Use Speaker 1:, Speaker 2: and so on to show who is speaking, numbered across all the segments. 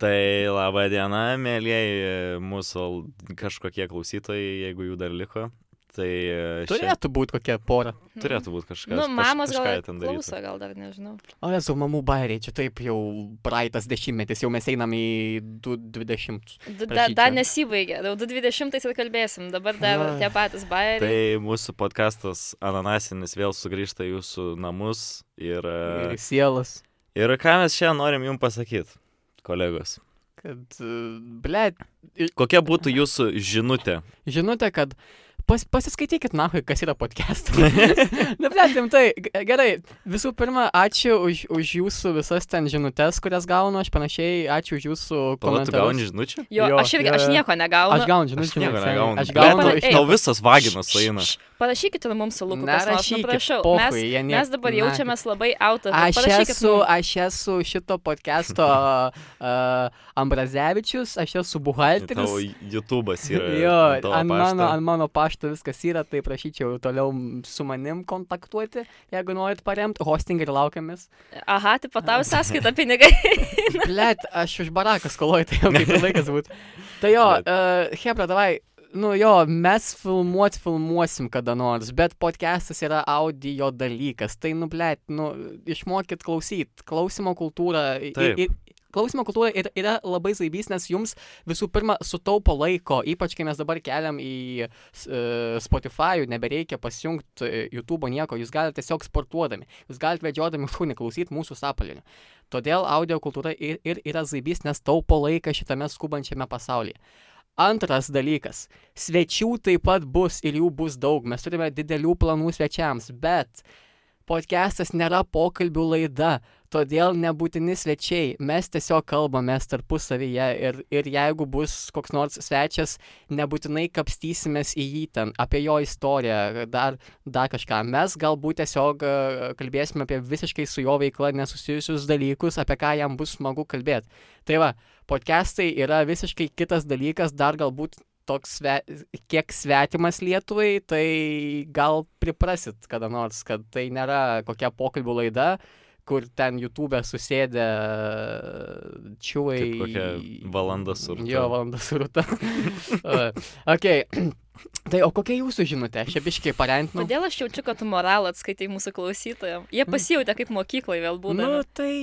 Speaker 1: Tai laba diena, mėlyjeji mūsų l- kažkokie klausytojai, jeigu jų dar liko. Tai e, šian-
Speaker 2: Turėtų būti kokia pora.
Speaker 1: turėtų būti kažkas.
Speaker 3: Nu,
Speaker 1: kaž-
Speaker 3: mamos
Speaker 1: kažką
Speaker 3: gal
Speaker 1: jie ten darytų.
Speaker 3: klauso, gal dar nežinau.
Speaker 2: O esu mamų bairiai, čia taip jau praeitas dešimtmetis, jau mes einam į du- 20.
Speaker 3: D- da-
Speaker 2: Prašyčiau.
Speaker 3: Dar nesibaigė, jau 20-ais atkalbėsim, dabar dar
Speaker 2: Ai.
Speaker 3: tie patys
Speaker 1: Tai
Speaker 3: bairiai.
Speaker 1: mūsų podkastas Ananasinis vėl sugrįžta į jūsų namus. Ir,
Speaker 2: Ir
Speaker 1: e,
Speaker 2: sielas.
Speaker 1: ir ką mes šiandien norim jums pasakyti, kolegos?
Speaker 2: Kad, e, ble,
Speaker 1: Kokia būtų jūsų žinutė?
Speaker 2: žinote, kad pas, pasiskaitykit nahui, kas yra podcastai. Na, ble, rimtai, g- gerai. Visų pirma, ačiū už, už jūsų visas ten žinutės, kurias gaunu, aš panašiai, ačiū už jūsų
Speaker 1: Pala, tu gauni
Speaker 2: komentarus.
Speaker 1: žinutę?
Speaker 3: Jo,
Speaker 2: jo,
Speaker 3: aš irgi,
Speaker 2: jo,
Speaker 3: aš
Speaker 2: jo.
Speaker 3: nieko
Speaker 2: Aš
Speaker 3: negaunu.
Speaker 2: gaunu
Speaker 1: Aš
Speaker 2: žinutę.
Speaker 1: nieko negaunu.
Speaker 2: Aš
Speaker 1: Blet,
Speaker 2: gaunu
Speaker 3: Ei.
Speaker 2: iš
Speaker 1: Tau visas vaginas eina.
Speaker 3: Parašykite mums su Luku, kas nors, nu,
Speaker 2: Nerašykit,
Speaker 3: prašau.
Speaker 2: pochui,
Speaker 3: Mes,
Speaker 2: jie nie-
Speaker 3: mes dabar
Speaker 2: na,
Speaker 3: jaučiamės labai auto.
Speaker 2: Aš
Speaker 3: Parašykit
Speaker 2: esu,
Speaker 3: mum.
Speaker 2: aš esu šito podcast'o uh, Ambrazevičius, aš esu
Speaker 1: Tavo
Speaker 2: buhalteris.
Speaker 1: YouTube'as yra. ant
Speaker 2: Jo,
Speaker 1: tavo
Speaker 2: ant mano,
Speaker 1: pašto.
Speaker 2: ant mano pašto viskas yra, tai prašyčiau toliau m- su manim kontaktuoti, jeigu norit paremti, hosting ir laukiamės.
Speaker 3: Aha, tai patau sąskaitą pinigai.
Speaker 2: Blet, aš už baraką skoloju, tai jau kaip ir laikas būtų. Tai jo,
Speaker 1: Bet-
Speaker 2: uh, Hebra, davai, nu jo, mes filmuot filmuosim kada nors, bet podcastas yra audio dalykas, tai nu, blet, nu, išmokit klausyt, klausimo kultūrą. i-
Speaker 1: Taip.
Speaker 2: i- Klausimo kultūra ir, yra labai zaibys, nes jums visų pirma sutaupo laiko, ypač kai mes dabar keliam į s- e, Spotify, nebereikia pasijungti e, YouTube nieko, jūs galite tiesiog sportuodami, jūs galite vedžiodami šunį klausyti mūsų sapalinių. Todėl audio kultūra ir, ir yra zaibys, nes taupo laiką šitame skubančiame pasaulyje. Antras dalykas. Svečių taip pat bus ir jų bus daug. Mes turime didelių planų svečiams, bet podcastas nėra pokalbių laida, todėl nebūtini svečiai. Mes tiesiog kalbame tarpusavyje ir, ir jeigu bus koks nors svečias, nebūtinai kapstysimės į jį ten, apie jo istoriją, dar, dar kažką. Mes galbūt tiesiog e, kalbėsime apie visiškai su jo veikla nesusijusius dalykus, apie ką jam bus smagu kalbėti. Tai va, podcastai yra visiškai kitas dalykas, dar galbūt toks sve, kiek svetimas Lietuvai, tai gal priprasit kada nors, kad tai nėra kokia pokalbių laida, kur ten YouTube susėdė e, čiuai.
Speaker 1: Kaip kokia valanda su Rūta.
Speaker 2: Jo, valanda surta. ok. Tai o kokia jūsų žinutė? Aš abiškai parentinu.
Speaker 3: Kodėl aš jaučiu, kad tu moralą atskaitai mūsų klausytojams? Jie pasijautė kaip mokykloje vėl būdavo.
Speaker 2: Nu, tai...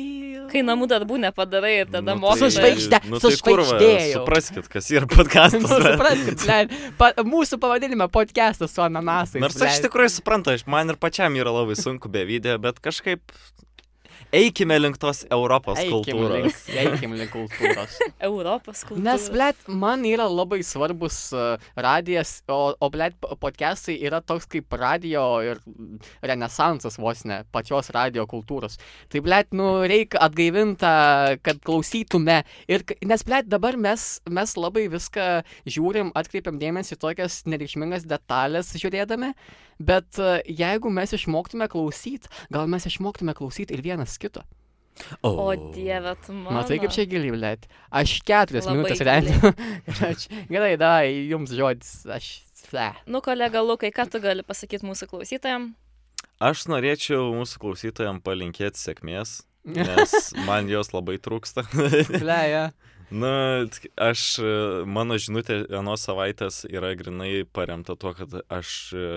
Speaker 3: Kai namų darbų nepadarai ir tada
Speaker 1: Nu,
Speaker 3: mokai.
Speaker 2: Su žvaigžde,
Speaker 1: nu, tai
Speaker 2: su
Speaker 1: kur, va,
Speaker 2: žvaigždėjau.
Speaker 1: Supraskit, kas yra
Speaker 2: Nu,
Speaker 1: podkastas.
Speaker 2: Supraskit, bled, pa, mūsų pavadinime podcastas su ananasais.
Speaker 1: Nors aš iš
Speaker 2: bled.
Speaker 1: tikrųjų suprantu, aš man ir pačiam yra labai sunku be video, bet kažkaip eikime link tos Europos
Speaker 2: Eikim
Speaker 1: kultūros.
Speaker 2: link- Eikim link kultūros.
Speaker 3: Europos kultūra.
Speaker 2: Nes, blėt, man yra labai svarbus uh, radijas, o, o blėt, podcastai yra toks kaip radio ir mm, renesansas vos ne, pačios radio kultūros. Tai, blėt, nu, reikia atgaivinta, kad klausytume. Ir, k- nes, blėt, dabar mes, mes labai viską žiūrim, atkreipiam dėmesį į tokias nereikšmingas detalės žiūrėdami, bet uh, jeigu mes išmoktume klausyt, gal mes išmoktume klausyt ir vienas kito.
Speaker 3: O dieve, tu man.
Speaker 2: Matai, kaip čia giliai, blėt. Aš keturias
Speaker 3: Labai
Speaker 2: minutės
Speaker 3: giliai.
Speaker 2: rendu. Aš- Gerai, davai, jums žodis. Aš. Ble.
Speaker 3: Nu, kolega Lukai, ką tu gali pasakyti mūsų klausytojams?
Speaker 1: Aš norėčiau mūsų klausytojams palinkėti sėkmės, nes man jos labai trūksta.
Speaker 2: Ble, ja.
Speaker 1: Na, t- aš, e, mano žinutė vienos savaitės yra grinai paremta tuo, kad aš e,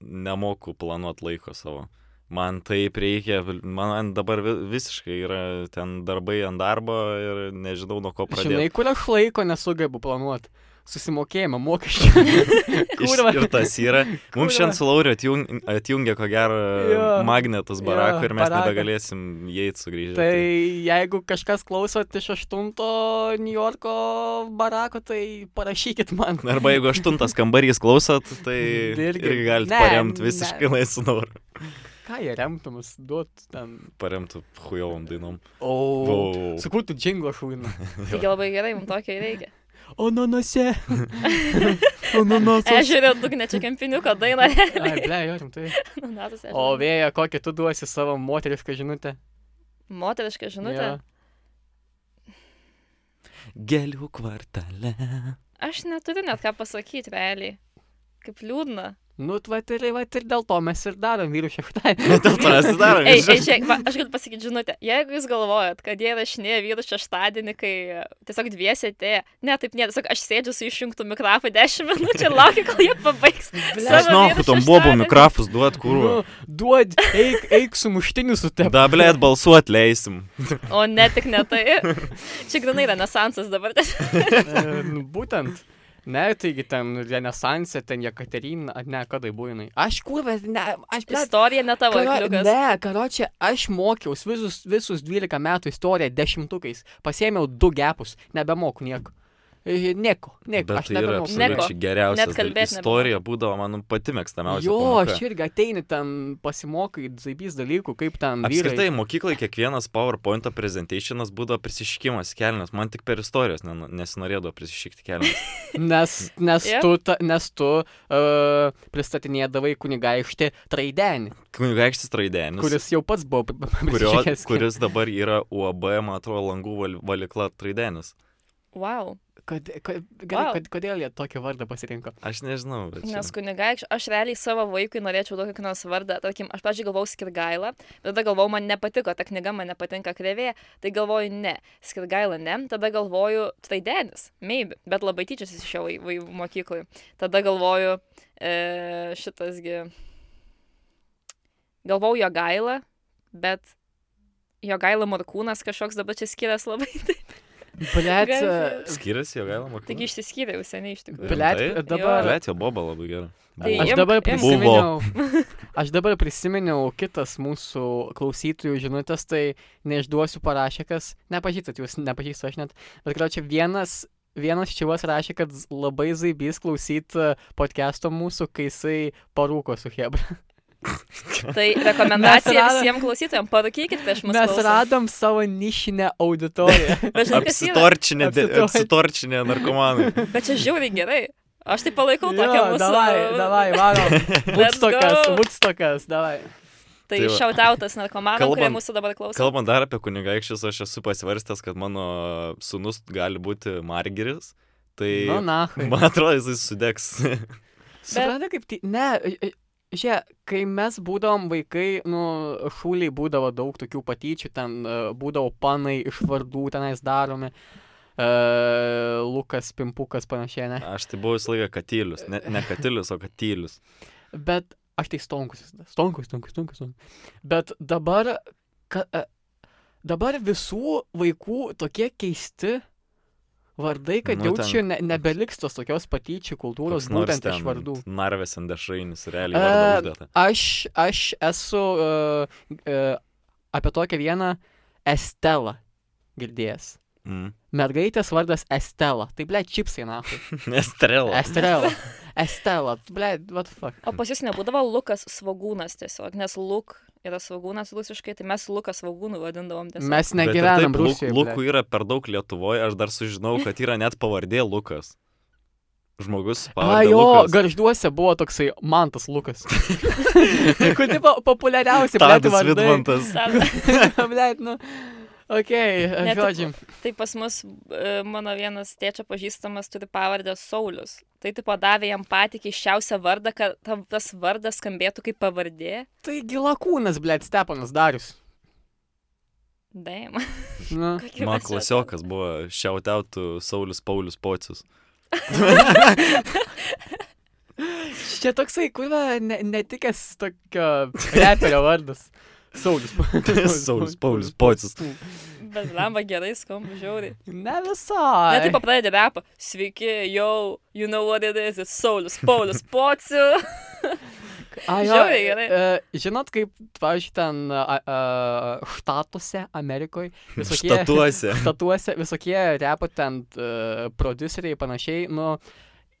Speaker 1: nemoku planuoti laiko savo. Man taip reikia, man dabar vi- visiškai yra ten darbai ant darbo ir nežinau nuo ko pradėti.
Speaker 2: Žinai, kur aš laiko nesugebu planuoti. Susimokėjimą mokesčių.
Speaker 1: Iš-
Speaker 2: Kurva.
Speaker 1: Ir tas yra. Mums šiandien su Lauriu atjung, atjungia ko gero
Speaker 2: Jo.
Speaker 1: magnetas
Speaker 2: Jo,
Speaker 1: barako ir mes
Speaker 2: barako.
Speaker 1: nebegalėsim jais sugrįžti.
Speaker 2: Tai jeigu kažkas klausot iš aštunto New Yorko barako, tai parašykit man.
Speaker 1: Na, Tai Arba jeigu aštuntas kambarys klausot, tai irgi,
Speaker 2: Irgi-
Speaker 1: irgi galite
Speaker 2: ne,
Speaker 1: paremti
Speaker 2: ne.
Speaker 1: visiškai laisvų norų.
Speaker 2: Ką jie remtumas duot ten?
Speaker 1: Paremtų hujovom dainom.
Speaker 2: O.
Speaker 1: Vau.
Speaker 2: Sukurtų džinglo šūną.
Speaker 3: Taigi labai gerai, mums tokio ir reikia.
Speaker 2: O nanose. O nanose.
Speaker 3: Ežerio dugne čia kempiniuko daina.
Speaker 2: Ai, ble, jo, rimtai.
Speaker 3: Nu, natos ežeras.
Speaker 2: O vėja, kokią tu duosi savo moterišką žinutę?
Speaker 3: Moteriška žinutė.
Speaker 2: Jo.
Speaker 1: Gėlių kvartale.
Speaker 3: Aš neturiu net ką pasakyti, realiai. Kaip liūdna.
Speaker 2: Nu, vat ir, vat ir dėl to mes ir darom vyrų šeštadienį.
Speaker 1: Dėl to atsidarom.
Speaker 3: Ei, ei, čia, va, aš galiu pasakyti, žinote, jeigu jūs galvojat, kad jie rašinėja vyrų šeštadienį, kai e, tiesiog dviesi atėjo, ne, taip, ne, tiesiog aš sėdžiu su išjungtu mikrofonu 10 minučių ir laukiu, kol jie pabaigs.
Speaker 1: Aš žinau, kad tom bobo mikrofus duot, kur.
Speaker 2: Nu, duod, eik, eik su muštiniu su tebe.
Speaker 1: Dablėt balsuot leisim.
Speaker 3: O ne tik ne tai. Čia grinai renesansas dabar.
Speaker 2: Nu, būtent. Ne, taigi ten Renesanse, ten Jekaterina, ar ne, kada buvo jinai. Aš kur, bet ne, aš blet,
Speaker 3: Istorija ne tavo,
Speaker 2: karo-
Speaker 3: Liukas.
Speaker 2: Ne, karočią, aš mokiausi visus, visus 12 metų istoriją dešimtukais. Pasėmiau du gepus, nebemoku nieko. E, Nieko,
Speaker 1: Bet
Speaker 2: nieko. aš
Speaker 1: tai yra
Speaker 2: nebemoku.
Speaker 3: Neko.
Speaker 1: absoliučiai geriausia.
Speaker 3: Net kalbėt nebemoku.
Speaker 1: Istorija būdavo mano pati mėgstamiausia.
Speaker 2: Jo,
Speaker 1: pamoka.
Speaker 2: aš irgi ateini ten pasimokai, zaibys dalykų, kaip ten
Speaker 1: Apskritai,
Speaker 2: vyrai.
Speaker 1: mokyklai kiekvienas PowerPoint prezentationas būdavo prisiškimas kelnes. Man tik per istorijos nen- nesinorėdavo prisišikti kelnes.
Speaker 2: Nes, nes
Speaker 3: Jo.
Speaker 2: tu, ta, nes tu uh, pristatinėdavai kunigaištį Traidenį,
Speaker 1: Kunigaikštis Raidenis.
Speaker 2: kuris jau pats buvo pri-
Speaker 1: Kurio,
Speaker 2: prisišikęs.
Speaker 1: kuris dabar yra UAB, man atrodo, langų val, valykla Traidenis.
Speaker 3: Wow.
Speaker 2: Kod, kod, gerai,
Speaker 3: Wow.
Speaker 2: kod, kodėl jie tokį vardą pasirinko?
Speaker 1: Aš nežinau, bet... čia-
Speaker 3: Nes kunigaikščiai, aš realiai savo vaikui norėčiau duoti kokį nors vardą. Tarkim, aš, pažiūrėjau, galvau Skirgailą, bet tada galvau, man nepatiko, ta knyga man nepatinka krevė, tai galvoju, ne, Skirgailą ne, tada galvoju, Traidenis, maybe, bet labai tyčiasi iš šio vaikų mokykloje. Tada galvoju, e, šitasgi, galvau jo gailą, bet jo gailą Markūnas kažkoks dabar čia skiriasi labai.
Speaker 2: Blet,
Speaker 3: Garbė.
Speaker 1: Skiriasi jo galima.
Speaker 3: Taigi išsiskyrė visai ne iš tikrųjų.
Speaker 2: blet,
Speaker 1: Rimtai?
Speaker 2: dabar...
Speaker 1: Blet, jo boba labai gerai.
Speaker 3: Tai
Speaker 2: Aš
Speaker 3: imk-
Speaker 2: dabar
Speaker 3: imk.
Speaker 2: prisiminiau. Aš dabar prisiminiau kitas mūsų klausytojų žinutės, tai neišduosiu parašė, kas nepažįstat, jūs nepažįstu aš net, bet gal čia vienas, vienas šivas rašė, kad z- labai zaibys klausyti podcast'o mūsų, kai jisai parūko su Hebra.
Speaker 3: Tai rekomendacija
Speaker 2: radom-
Speaker 3: visiems klausytojams, parūkykit prieš mus.
Speaker 2: Mes radom savo nišinę auditoriją.
Speaker 1: Apsitorčinė, de-
Speaker 2: Apsitor-
Speaker 1: apsitorčinė narkomanai.
Speaker 3: Bet čia žiauriai gerai. Aš tai palaikau tokią
Speaker 2: Jo,
Speaker 3: mūsų.
Speaker 2: davai, davai, varom. Woodstockas,
Speaker 3: go.
Speaker 2: Woodstockas, davai.
Speaker 1: Tai
Speaker 3: Tai
Speaker 1: va.
Speaker 3: šiautautas narkomanam, kurie
Speaker 1: Kalbant-
Speaker 3: mūsų dabar klauso.
Speaker 1: Kalbant dar apie kunigaikščius, aš esu pasvarstęs, kad mano sunus gali būti margeris. Tai...
Speaker 2: Nu, na.
Speaker 1: Man atrodo, jisai sudegs.
Speaker 2: Suprantate, kaip tai... Ne, žia, kai mes būdavom vaikai, nu, šūliai būdavo daug tokių patyčių, ten e, būdavo panai iš vardų tenais daromi. Uh, Lukas, Pimpukas, panašiai, ne.
Speaker 1: Aš tai buvau visą laiką katylius. Ne, ne katylius, o katylius.
Speaker 2: Bet aš tai stonkus. Stonkus, stonkus, stonkus. stonkus. Bet dabar, ka, e, dabar visų vaikų tokie keisti vardai, kad
Speaker 1: Nu,
Speaker 2: nu,
Speaker 1: ten-
Speaker 2: jaučiu, ne, nebeliks tos tokios patyčių kultūros
Speaker 1: Koks nors
Speaker 2: būtent iš
Speaker 1: ten
Speaker 2: vardų.
Speaker 1: Narvės ant dešrainis, realiai.
Speaker 2: E,
Speaker 1: vardą uždėta.
Speaker 2: Aš, aš esu uh, uh, apie tokią vieną Estelą girdėjęs.
Speaker 1: Mm.
Speaker 2: Mergaitės vardas Estela. Tai ble, čipsai, na.
Speaker 1: Estrela.
Speaker 2: Estela. Estela. Ble, what the fuck.
Speaker 3: O pas jūs nebūdavo Lukas Svagūnas tiesiog, nes Luk yra Svagūnas rusiškai, tai mes Lukas Svagūnų vadindavom tiesiog.
Speaker 1: Bet
Speaker 2: Mes
Speaker 1: ir
Speaker 2: negyvenam
Speaker 1: taip, Luk-
Speaker 2: Rusijoje.
Speaker 1: Lukų yra per daug Lietuvoje, aš dar sužinau, kad yra net pavardė Lukas. Žmogus
Speaker 2: A,
Speaker 1: pavardė.
Speaker 2: jo,
Speaker 1: Lukas.
Speaker 2: garžduose buvo toksai Mantas Lukas. Kur tai po- populiariausi, ble,
Speaker 1: Tadas
Speaker 2: vardai.
Speaker 1: Vidmantas.
Speaker 3: Mes...
Speaker 2: Ble, nu. Ok,
Speaker 3: Ne, taip-
Speaker 2: žodžiu.
Speaker 3: Tai pas mus e, mano vienas tėčio pažįstamas turi pavardę Saulis. Tai tipo davė jam patį keiščiausią vardą, kad ta- tas vardas skambėtų kaip pavardė.
Speaker 2: Tai gilakūnas, ble, Stepanas Darius.
Speaker 3: Daim.
Speaker 2: Nu.
Speaker 1: Man klasiokas buvo šiautautų Saulis Paulius Pocius.
Speaker 2: Čia toksai, kurva, ne, netikęs tokio reperio vardas. Saulis.
Speaker 1: Saulis Paulius Pocius.
Speaker 3: Bet lamba gerai skamba, žiauriai.
Speaker 2: Ne
Speaker 3: Ne
Speaker 2: visai.
Speaker 3: taip pradedė repą. Sveiki, jau, you know what it is, it's Saulis, Paulius, Pociu.
Speaker 2: A, jo,
Speaker 3: žiauriai gerai.
Speaker 2: e, Žinot, kaip, pavyzdžiui, ten a, a, štatuose, Amerikoje, visokie,
Speaker 1: Štatuose.
Speaker 2: štatuose, visokie repo ten e, produceriai panašiai, nu,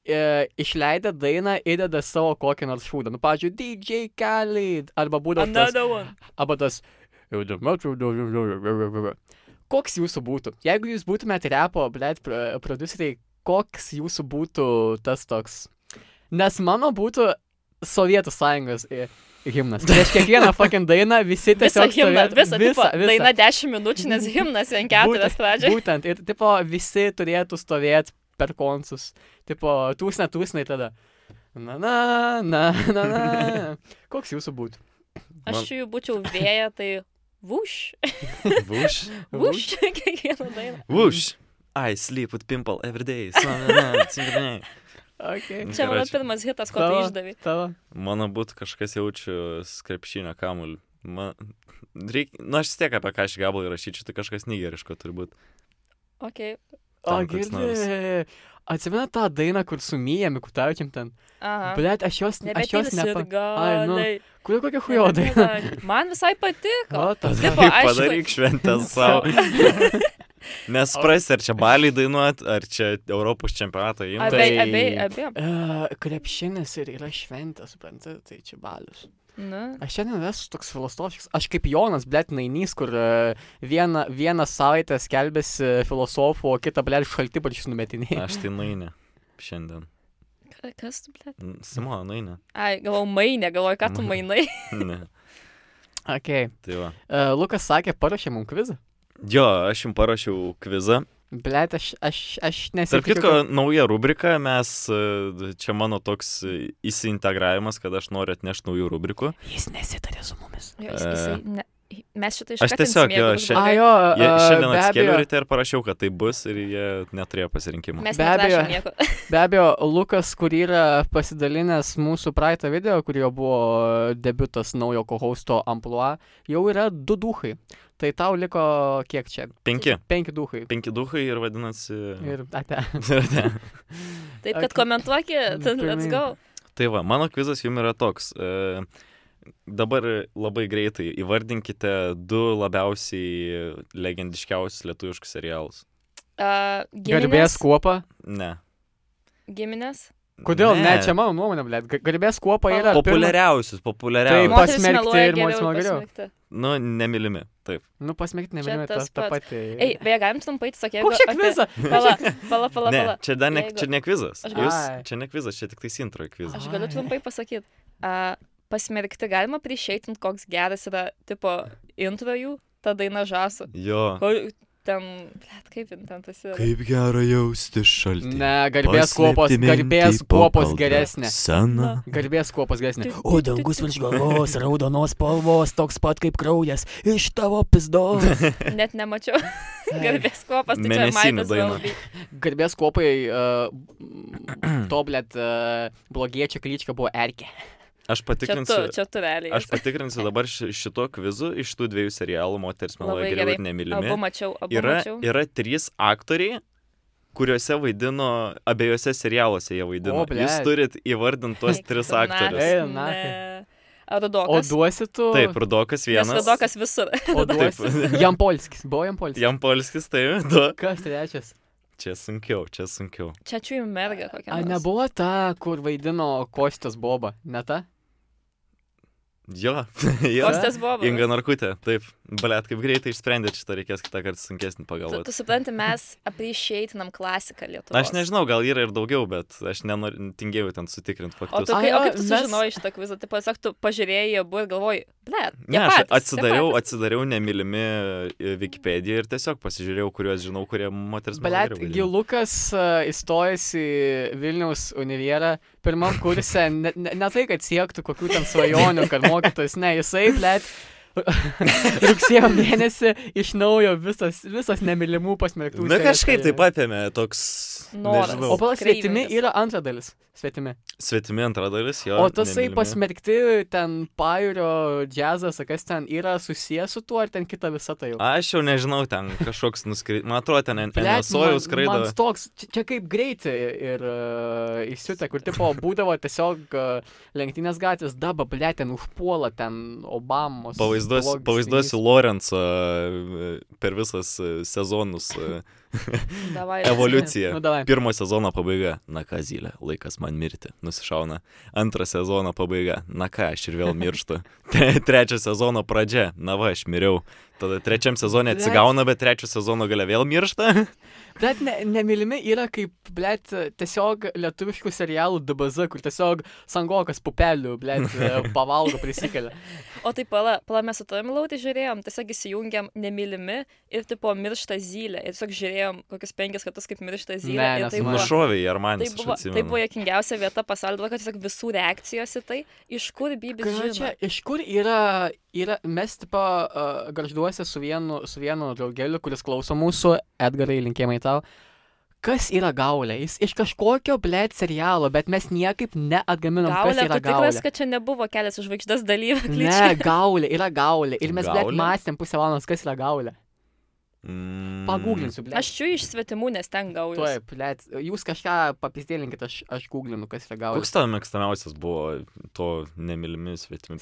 Speaker 2: e, išleidę dainą, įdeda savo kokį nors šūdą. Nu, pavyzdžiui, DJ Kelly, arba būdavo tas
Speaker 3: Another one.
Speaker 2: arba tas Koks jūsų būtų? Jeigu jūs būtumėte repo, blėt, produceriai, koks jūsų būtų tas toks? Nes mano būtų Sovietų sąjungos i- himnas. Prieš kiekvieną fucking dainą visi
Speaker 3: Visą
Speaker 2: tiesiog...
Speaker 3: himną,
Speaker 2: stovėtų-
Speaker 3: visą, visą, visą. Daina 10 minučių, nes himnas vien keturias pradžiai.
Speaker 2: Būtent, ir tipo, visi turėtų stovėti per konsus. Tipo, tūsne, tūsne tada. Na, na, na, na, na. Koks jūsų būtų?
Speaker 3: Aš
Speaker 1: Man-
Speaker 3: jų būčiau vėja, tai vuš.
Speaker 1: Vush.
Speaker 3: Vuš kiekvieną dainą.
Speaker 1: Vush. I sleep with pimple every day. So, na, na, so, na.
Speaker 2: Okay.
Speaker 3: Čia mano
Speaker 1: Gerai, čia-
Speaker 3: pirmas hitas, ko tu
Speaker 2: Nu, Tavo-
Speaker 3: išdavai.
Speaker 2: Tavo.
Speaker 1: Mano būtų kažkas jaučiu skrepšinio kamulį. Man... Reik... Na, aš vis tiek apie ką aš gabalą įrašyčiau, tai kažkas nigeriško turbūt.
Speaker 3: Okay.
Speaker 2: O,
Speaker 1: Ten koks
Speaker 2: girdi. Atsimena tą dainą, kur su Myja Mikutaučiam ten.
Speaker 3: Aha.
Speaker 2: Blet, aš jos, aš jos
Speaker 3: Nebetilsi
Speaker 2: nepa... nu,
Speaker 3: ir galai.
Speaker 2: Kur kokia hujoda?
Speaker 3: Nebetilsi. Man visai patiko.
Speaker 2: O, tas.
Speaker 3: Tipo,
Speaker 1: Tai
Speaker 3: aišku-
Speaker 1: padaryk šventę savo. Nes pras, ar čia baliai dainuot, ar čia Europos čempionato įimti.
Speaker 3: Abei,
Speaker 2: tai-
Speaker 3: abei, abiem.
Speaker 2: Uh, krepšinis ir yra šventė, supranti, tai čia balius.
Speaker 3: Nu.
Speaker 2: Aš šiandien esu toks filosofiškas, aš kaip Jonas, blėt, nainys, kur uh, vieną, vieną savaitę skelbėsi filosofų, o kitą, blėt, šaltibarčius numetinėjai.
Speaker 1: Aš tai nainė šiandien.
Speaker 3: Ka- Kas tu, ble?
Speaker 1: N- Simona nainė.
Speaker 3: Ai, galvoju, mainė, galvoju, ką tu mainai.
Speaker 1: Ne.
Speaker 2: Okay.
Speaker 1: Tai va.
Speaker 2: Uh, Lukas sakė, parašė mums kvizą.
Speaker 1: Jo, aš jums parašiau kvizą.
Speaker 2: Blėt, aš, aš, aš
Speaker 1: Tarp
Speaker 2: nesitikiu.
Speaker 1: kitko, nauja rubrika, mes e, čia mano toks e, įsiintegravimas, kad aš noriu atnešti naujų rubrikų.
Speaker 2: kad... Jis nesitarė su mumis.
Speaker 3: Jo, jis- jisai ne- Mes šitą iš
Speaker 1: E. Aš tiesiog, jo, šia-
Speaker 2: A, jo,
Speaker 1: Jie
Speaker 2: uh,
Speaker 1: šiandien
Speaker 2: be
Speaker 1: atskėliau
Speaker 2: abejo,
Speaker 1: ryte ir parašiau, kad tai bus ir jie neturėjo pasirinkimo.
Speaker 3: Mes
Speaker 2: Be abejo.
Speaker 3: neprašom nieko.
Speaker 2: Be abejo, Lukas, kur yra pasidalinęs mūsų praeitą video, kur jo buvo debutas naujo kohausto ampluo, jau yra du duhai. Tai tau liko kiek čia?
Speaker 1: Penki. Mm.
Speaker 2: Penki duhai.
Speaker 1: Penki duhai ir vadinasi.
Speaker 2: Ir ate.
Speaker 1: Ir...
Speaker 3: Taip,
Speaker 2: Ok.
Speaker 3: kad komentuokit, let's
Speaker 2: Pirmyn.
Speaker 3: go.
Speaker 1: Tai va, mano kvizas jums yra toks. E, dabar labai greitai įvardinkite du labiausiai legendiškiausius lietuviškus serialus.
Speaker 3: A,
Speaker 2: Garbės
Speaker 3: Giminės.
Speaker 2: kuopa.
Speaker 1: Ne.
Speaker 3: Giminės.
Speaker 2: Kodėl? Ne, čia mano nuomonė, blėt. Ga- Garbės kuopa yra. pirma-
Speaker 1: Populiariausius,
Speaker 2: Taip.
Speaker 1: populiariausius.
Speaker 3: Moteris
Speaker 2: pasmerkti
Speaker 3: meluoja
Speaker 2: ir moteris
Speaker 3: geriau
Speaker 2: meluoja geriau.
Speaker 3: pasmerkti.
Speaker 1: Nu, nemylimi. Taip.
Speaker 2: Nu, pasmėgti nebežinau, ta,
Speaker 3: tas
Speaker 2: ta
Speaker 3: pats.
Speaker 2: pati.
Speaker 3: Ei, beje, galim trumpai, sakė,
Speaker 2: Koks čia kvizas?
Speaker 3: Pala, pala, pala,
Speaker 1: Ne,
Speaker 3: pala.
Speaker 1: čia, dar ne,
Speaker 3: Jeigu-
Speaker 1: čia ne kvizas.
Speaker 3: Aš-
Speaker 1: Jūs,
Speaker 2: Ai.
Speaker 1: čia ne kvizas, čia tik tai intro į kvizą.
Speaker 3: Aš galiu
Speaker 2: Ai.
Speaker 3: trumpai pasakyti. Uh, pasmerkti galima priešeitinti, koks geras yra, tipo, intro jų, ta daina žasų.
Speaker 1: Jo.
Speaker 3: Ko ten, blėt, kaip jin ten tas yra.
Speaker 4: Kaip gera jausti šaltį.
Speaker 2: Ne, garbės kuopos,
Speaker 4: Paslėpti
Speaker 2: garbės
Speaker 4: mintį po
Speaker 2: kuopos
Speaker 4: kalda.
Speaker 2: geresnė.
Speaker 4: Sena.
Speaker 2: Garbės kuopos geresnė.
Speaker 4: O dangus virš galvos, raudonos spalvos, toks pat kaip kraujas iš tavo pizdos.
Speaker 3: Net nemačiau. Garbės kopas, tai čia
Speaker 1: Mėnesinių
Speaker 3: Maitas
Speaker 1: daina.
Speaker 3: Valby.
Speaker 2: Garbės e, kopai, uh, toblėt, uh, blogiečio klyčka buvo erkė.
Speaker 1: Aš
Speaker 3: Čia tu,
Speaker 1: patikrinsiu.
Speaker 3: čia tu realiai.
Speaker 1: Aš patikrinsiu dabar ši- šito kvizu iš tų dviejų serialų Moters meluoja
Speaker 3: Labai
Speaker 1: geriau
Speaker 3: gerai.
Speaker 1: ir nemylimi.
Speaker 3: Abu mačiau, abu
Speaker 1: yra,
Speaker 3: mačiau.
Speaker 1: yra trys aktoriai, kuriuose vaidino, abiejose serialuose jie vaidino.
Speaker 2: O, blet.
Speaker 1: Jūs turit įvardinti tuos
Speaker 3: Eik tu,
Speaker 1: tris
Speaker 2: Ei,
Speaker 1: aktorius.
Speaker 2: na.
Speaker 3: ne. Ar
Speaker 2: O
Speaker 3: Rudokas?
Speaker 2: duosi tu?
Speaker 1: Taip, Rudokas
Speaker 3: Nes
Speaker 1: vienas.
Speaker 3: Rudokas visur.
Speaker 2: o duosi.
Speaker 1: Taip.
Speaker 2: Jam polskis, buvo jam polskis.
Speaker 1: Jam polskis, tai du.
Speaker 2: Kas trečias?
Speaker 1: Čia sunkiau, čia sunkiau.
Speaker 3: Čia čiūjų merga kokia.
Speaker 2: A,
Speaker 3: nors.
Speaker 2: nebuvo ta, kur vaidino Kostas Boba, ne ta?
Speaker 1: Jo, jo.
Speaker 3: Kostas buvo.
Speaker 1: Inga Narkutė, taip. Blet, kaip greitai išsprendėt šitą, reikės kitą kartą sunkesnį
Speaker 3: Tu,
Speaker 1: pagalvoti.
Speaker 3: tu supranti, mes apryšeitinam klasiką lietuvių.
Speaker 1: Aš nežinau, gal yra ir daugiau, bet aš nenoriu, tingėjau ten sutikrinti
Speaker 3: O, tu,
Speaker 1: faktus.
Speaker 2: Ai,
Speaker 3: kai, o
Speaker 2: o,
Speaker 3: kaip tu
Speaker 2: mes-
Speaker 3: sužinojai šitą kvizą? Tai pasak, tu pažiūrėjai abu ir galvojai, ble,
Speaker 1: Ne, aš atsidariau, atsidariau nemylimi e, Wikipediją ir tiesiog pasižiūrėjau, kuriuos žinau, kurie moters
Speaker 2: Blet, Gilukas uh, įstojęs į Vilniaus univierą, pirmam kurse, ne, ne, ne tai, kad siektų kokių ten svajonių, kad mokytojas, ne, jisai, blet. Rugsėjo mėnesį iš naujo visas, visas nemilimų pasmerktų.
Speaker 1: Na
Speaker 2: serijos
Speaker 1: kažkaip taip
Speaker 2: karjeras.
Speaker 1: apėmė toks...
Speaker 3: Noras.
Speaker 1: nežinau,
Speaker 2: O pala, svetimi
Speaker 3: Kreivingas.
Speaker 2: yra antra dalis. Svetimi.
Speaker 1: Svetimi antra dalis jo.
Speaker 2: O tasai
Speaker 1: nemylimi.
Speaker 2: pasmerkti ten pajūrio džiazas, kas ten yra susijęs su tuo, ar ten kita visa tai jau.
Speaker 1: Aš jau nežinau, ten kažkoks nuskrido. Man atrodo, ten
Speaker 2: Blet, man-
Speaker 1: NSOJAU skraido.
Speaker 2: Man toks, čia, čia kaip greitai ir uh, įsiutė, kur tipo būdavo tiesiog uh, lenktynės gatvės, daba, ble, ten užpuola ten Obamos.
Speaker 1: Pavaizduosiu,
Speaker 2: blogis,
Speaker 1: pavaizduosiu
Speaker 2: tinginys.
Speaker 1: Lorenzą e, per visas e, sezonus e,
Speaker 3: Davai,
Speaker 1: evoliuciją.
Speaker 2: Nu, davai.
Speaker 1: Pirmo sezono pabaiga, na ką zylė, laikas man mirti, nusišauna. Antrą sezono pabaiga, na ką, aš ir vėl mirštu. Tre- Trečio sezono pradžia, na va, aš miriau. Tada trečiam sezonė
Speaker 2: Blet.
Speaker 1: atsigauna, bet trečio sezono gale vėl miršta.
Speaker 2: Bet ne, nemylimi yra kaip, blėt, tiesiog lietuviškų serialų DBZ, kur tiesiog sangokas pupelių, blėt, pavalgo prisikelia.
Speaker 3: O tai pala, pala mes su tavimi lauti žiūrėjom, tiesiog įsijungiam nemylimi ir tipo miršta zylė. Ir tiesiog žiūrėjom kokius penkis kartus, kaip miršta zylė.
Speaker 2: Ne,
Speaker 3: ir tai
Speaker 2: nesu-
Speaker 3: buvo,
Speaker 1: Nušovė į
Speaker 3: tai
Speaker 1: Armanis,
Speaker 3: buvo,
Speaker 1: aš
Speaker 3: tai buvo
Speaker 1: atsimenu.
Speaker 3: jokingiausia vieta pasaulyje, todėl kad tiesiog visų reakcijos į tai, iš kur bybis
Speaker 2: Ką čia,
Speaker 3: žino.
Speaker 2: iš kur yra, yra mes tipo uh, garžduosi su vienu, su vienu draugeliu, kuris klauso mūsų, Edgarai, linkėjimai tau. Kas yra gaulė? Jis iš kažkokio, blėt, serialo, bet mes niekaip neatgaminom, kas
Speaker 3: Gaulė,
Speaker 2: yra
Speaker 3: tu
Speaker 2: gaulė.
Speaker 3: tikras, kad čia nebuvo kelias už žvaigždės dalyvių.
Speaker 2: Ne, gaulė, yra gaulė. Ir mes, blėt,
Speaker 1: Gaulė?
Speaker 2: mąstėm pusę valandos, kas yra gaulė.
Speaker 1: Mm.
Speaker 2: Pagūglinsiu, blėt.
Speaker 3: Aš čia iš svetimų, nes ten gaulė.
Speaker 2: Taip, blėt, jūs kažką papizdėlinkit, aš, aš googlinu, kas yra gaulė.
Speaker 1: Koks tavo mėgstamiausias buvo to nemylimi svetimi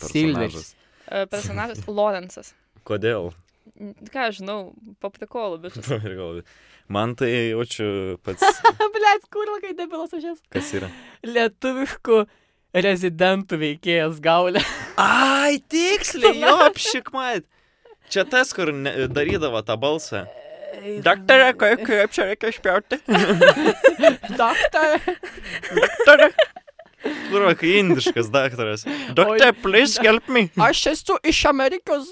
Speaker 1: personažas?
Speaker 2: Silveris.
Speaker 3: E, Personažas Lorenzas.
Speaker 1: Kodėl?
Speaker 3: N- Ką aš žinau, paprikolų, bet
Speaker 1: Tau ir galvoju. Man tai jaučiu pats,
Speaker 2: Blėt, kur ilgai debilas aš esu?
Speaker 1: kas yra.
Speaker 2: Lietuviškų rezidentų veikėjas gaulė.
Speaker 1: Ai, tiksliai, jo, apšikmait. Čia tas, kur ne, darydavo tą balsą. Daktarė, kaip, kaip čia reikia išpjauti?
Speaker 2: Daktarė.
Speaker 1: Daktarė. Kur va, kai indiškas daktaras. Daktarė, please help me.
Speaker 2: Aš esu iš Amerikos.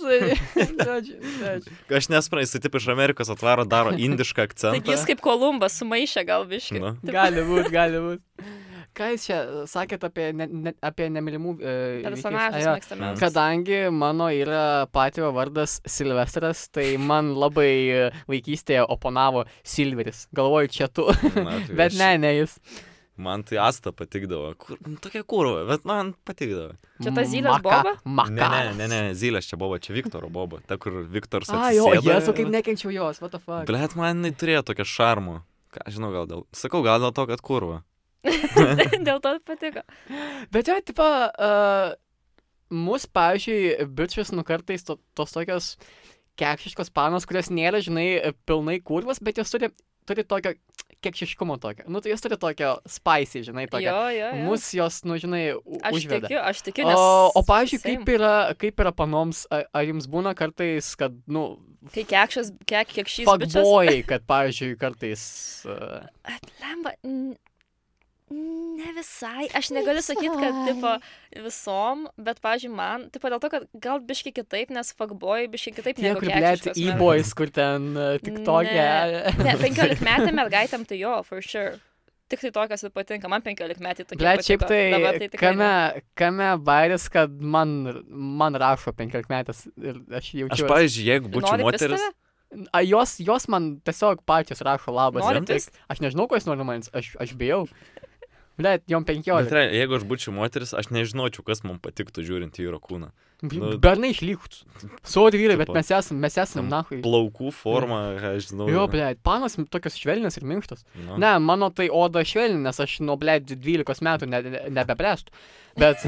Speaker 2: Žodžiu, žodžiu.
Speaker 1: Aš nesprantu, jis taip iš Amerikos atvaro, daro indišką
Speaker 3: Taigi
Speaker 1: akcentą.
Speaker 3: jis kaip Kolumbas sumaišė gal biškai.
Speaker 1: Nu.
Speaker 2: gali būti, gali būti. Ką jūs čia sakėt apie, ne, ne, apie nemilimų e, veikėjus?
Speaker 3: Personažas
Speaker 2: Ajo,
Speaker 3: mėgstamiausias.
Speaker 2: Kadangi mano yra patio vardas Silvestras, tai man labai e, vaikystėje oponavo Silveris. Galvoju, čia tu.
Speaker 1: Na, tai
Speaker 2: Bet
Speaker 1: aš-
Speaker 2: ne, ne jis.
Speaker 1: Man tai asta patikdavo. Kur, nu, tokia kurva, bet man patikdavo.
Speaker 3: Čia ta zylės
Speaker 2: Maka-
Speaker 3: boba?
Speaker 1: Ne,
Speaker 2: Makaras.
Speaker 1: ne, ne, ne, Zylės čia buvo, čia Viktoro buvo. Ta, kur Viktoras
Speaker 2: A, jo,
Speaker 1: atsisėdo.
Speaker 2: jesu, kaip nekenčiau jos, what the fuck.
Speaker 1: Blet, man jinai turėjo tokią šarmų. Ką aš žinau, gal dėl... Sakau, gal dėl to, kad kurva.
Speaker 3: Dėl to patiko.
Speaker 2: Bet jo, tipo, uh, mus, pavyzdžiui, bičius nu kartais to, tos tokios kekšiškos panos, kurios nėra, žinai, pilnai kurvas, bet jos turi, turi tokio kekšiškumo tokio. Nu, tai jos turi tokio spicy, žinai,
Speaker 3: Jo,
Speaker 2: tokio.
Speaker 3: jo, jo.
Speaker 2: Mus jos, nu, žinai, u-
Speaker 3: Aš
Speaker 2: užveda.
Speaker 3: tikiu, aš tikiu. Nes...
Speaker 2: O, o pavyzdžiui,
Speaker 3: same.
Speaker 2: kaip yra, kaip yra panoms, ar, ar jums būna kartais, kad, nu,
Speaker 3: Kai kekšas, kek, kiek šis bičias.
Speaker 2: pagbojai, kad, pavyzdžiui, kartais... Uh,
Speaker 3: Atlemba. n- Ne visai. Aš negaliu sakyti, kad tipo, visom, bet, pažiūrėjau, man, tipo, dėl to, kad gal biški kitaip, nes fagbojai biški kitaip
Speaker 2: tie,
Speaker 3: negu
Speaker 2: kur, blėt,
Speaker 3: kekšiškas, man.
Speaker 2: e-boys, kur ten e, tik tokia...
Speaker 3: Ne, 15 metai mergaitėm tai jo, for sure. Tik tai tokios ir patinka, man 15 metai tokie.
Speaker 2: Ble, šiaip
Speaker 3: patiko. Dabar
Speaker 2: tai,
Speaker 3: tikrai
Speaker 2: kame,
Speaker 3: ne.
Speaker 2: kame bairis, kad man, man rašo penkiolikmetės ir aš
Speaker 1: Aš,
Speaker 2: jaučiu...
Speaker 1: pavyzdžiui, jeigu būčiau
Speaker 3: Nori pist
Speaker 1: moteris,
Speaker 3: tave?
Speaker 2: A, jos, jos man tiesiog pačios rašo labas.
Speaker 3: Nori
Speaker 2: ir
Speaker 3: pist?
Speaker 2: Aš nežinau, ko jis nori man, aš, aš bijau. Ble, jom
Speaker 1: bet,
Speaker 2: penkiolika.
Speaker 1: re, jeigu aš būčiau moteris, aš nežinočiau, kas man patiktų žiūrint į vyro kūną. nu-
Speaker 2: Bernai išlygus. Suod vyrai, bet
Speaker 1: Tipo,
Speaker 2: mes esam, mes esam,
Speaker 1: ten
Speaker 2: nahui.
Speaker 1: Plaukų forma, aš žinau.
Speaker 2: Jo, ble, panos tokios švelnios ir minkštos.
Speaker 1: Nu.
Speaker 2: Ne, mano tai oda švelni, nes aš nuo, ble, 12 metų ne, ne, nebebręstu. Bet...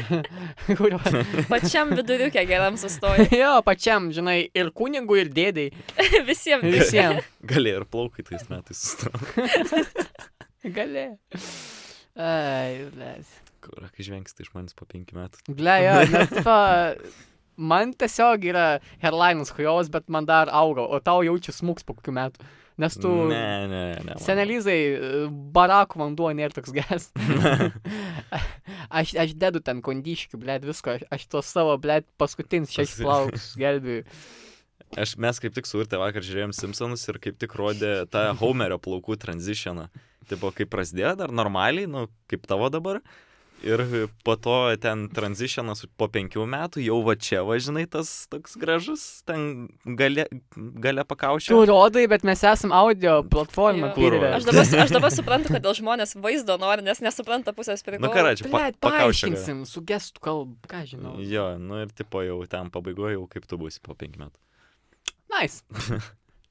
Speaker 2: Kurio-
Speaker 3: Pačiam viduriukė geram sustoja.
Speaker 2: jo, pačiam, žinai, ir kunigui, ir dėdėjai.
Speaker 3: Visiems.
Speaker 2: Visiems.
Speaker 1: Galėjo ir plaukai tais metais sustraukti.
Speaker 2: Gali. Ai, blės.
Speaker 1: Kur, kai žvengsite iš manęs po penkių metų.
Speaker 2: Ble, jo, nes tipo, man tiesiog yra hairlinas hujovas, bet man dar auga, o tau jaučiu smūgs po kokių metų. Nes tu...
Speaker 1: Ne, ne, ne. man-
Speaker 2: Senelizai, e, barakų vanduo nėra toks ges. aš, aš dedu ten kondiškių, blėt, visko. Aš, aš tuos savo, blėt, paskutinius šešis
Speaker 1: Pasi-
Speaker 2: plaukus gelbėjau.
Speaker 1: Aš, mes kaip tik su Urte vakar žiūrėjom Simpsonus ir kaip tik rodė tą Homerio plaukų tranzitioną. Taip, kaip prasidėjo dar normaliai, nu, kaip tavo dabar. Ir po to ten tranzitionas po penkių metų, jau va čia važinai tas toks gražus, ten gale, gale
Speaker 2: Tu
Speaker 1: pakaušio.
Speaker 2: rodai, bet mes esam audio platforma,
Speaker 3: Jo.
Speaker 2: kur yra.
Speaker 3: Aš dabar, aš dabar suprantu, kodėl žmonės vaizdo nori, nes nesupranta pusės pirkimo.
Speaker 1: Nu, karačiu, pa,
Speaker 2: Blėt,
Speaker 1: pakaušio. gale.
Speaker 2: paaiškinsim, su gestų kalba, ką žinau.
Speaker 1: Jo, nu ir tipo jau ten pabaigoje, jau kaip tu būsi po penkių metų.
Speaker 2: Nice.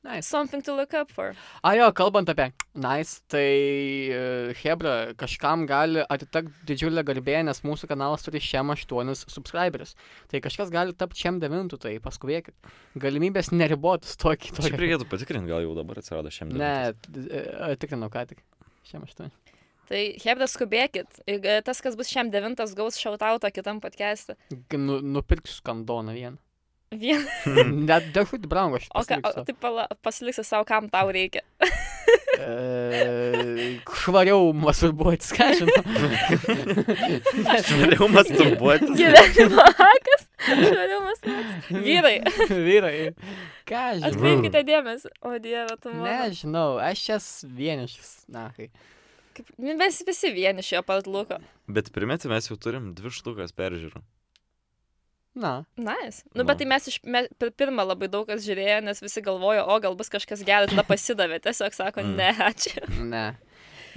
Speaker 2: Nice.
Speaker 3: Something to look up for.
Speaker 2: A jo, kalbant apie nice, tai e, Hebra, kažkam gali atitekti didžiulę garbę, nes mūsų kanalas turi šiam 8 subscriberius. Tai kažkas gali tapti šiam 9, tai paskubėkit. Galimybės neribotas tokį
Speaker 1: Šiaip
Speaker 2: tokį.
Speaker 1: reikėtų patikrinti, gal jau dabar atsirado šiandien.
Speaker 2: Ne, e, tikrinau ką tik. Šiam 8.
Speaker 3: Tai hebdas skubėkit. Ir, e, Tas, kas bus šiam devintas, gaus šautautą kitam podcast'e.
Speaker 2: Nu, nupirksiu skandoną vieną.
Speaker 3: Vien.
Speaker 2: Net dešut brango aš.
Speaker 3: O, tai ka, o
Speaker 2: pasiliksiu.
Speaker 3: taip pala- pasiliksi savo, kam tau reikia.
Speaker 2: E, švariau masturbuotis, ką žinau.
Speaker 1: Švariau masturbuotis.
Speaker 3: Gyvenimo hakas. Švarimas. Vyrai,
Speaker 2: Vyrai. Ką žinau.
Speaker 3: atkreipkite dėmesį. O dieve, tu man.
Speaker 2: Nežinau, aš esu vienišas. Na, kai.
Speaker 3: nu, Mes visi vieni šio pat lūko.
Speaker 1: Bet primeti, mes jau turim dvi štukas peržiūrų.
Speaker 2: Na.
Speaker 3: Nice. Nu,
Speaker 1: Nu.
Speaker 3: bet tai mes, iš, mes per pirmą labai daug kas žiūrėjo, nes visi galvojo, o gal bus kažkas geras, tada pasidavė. Tiesiog sako,
Speaker 1: Mm.
Speaker 3: ne, ačiū.
Speaker 2: Ne.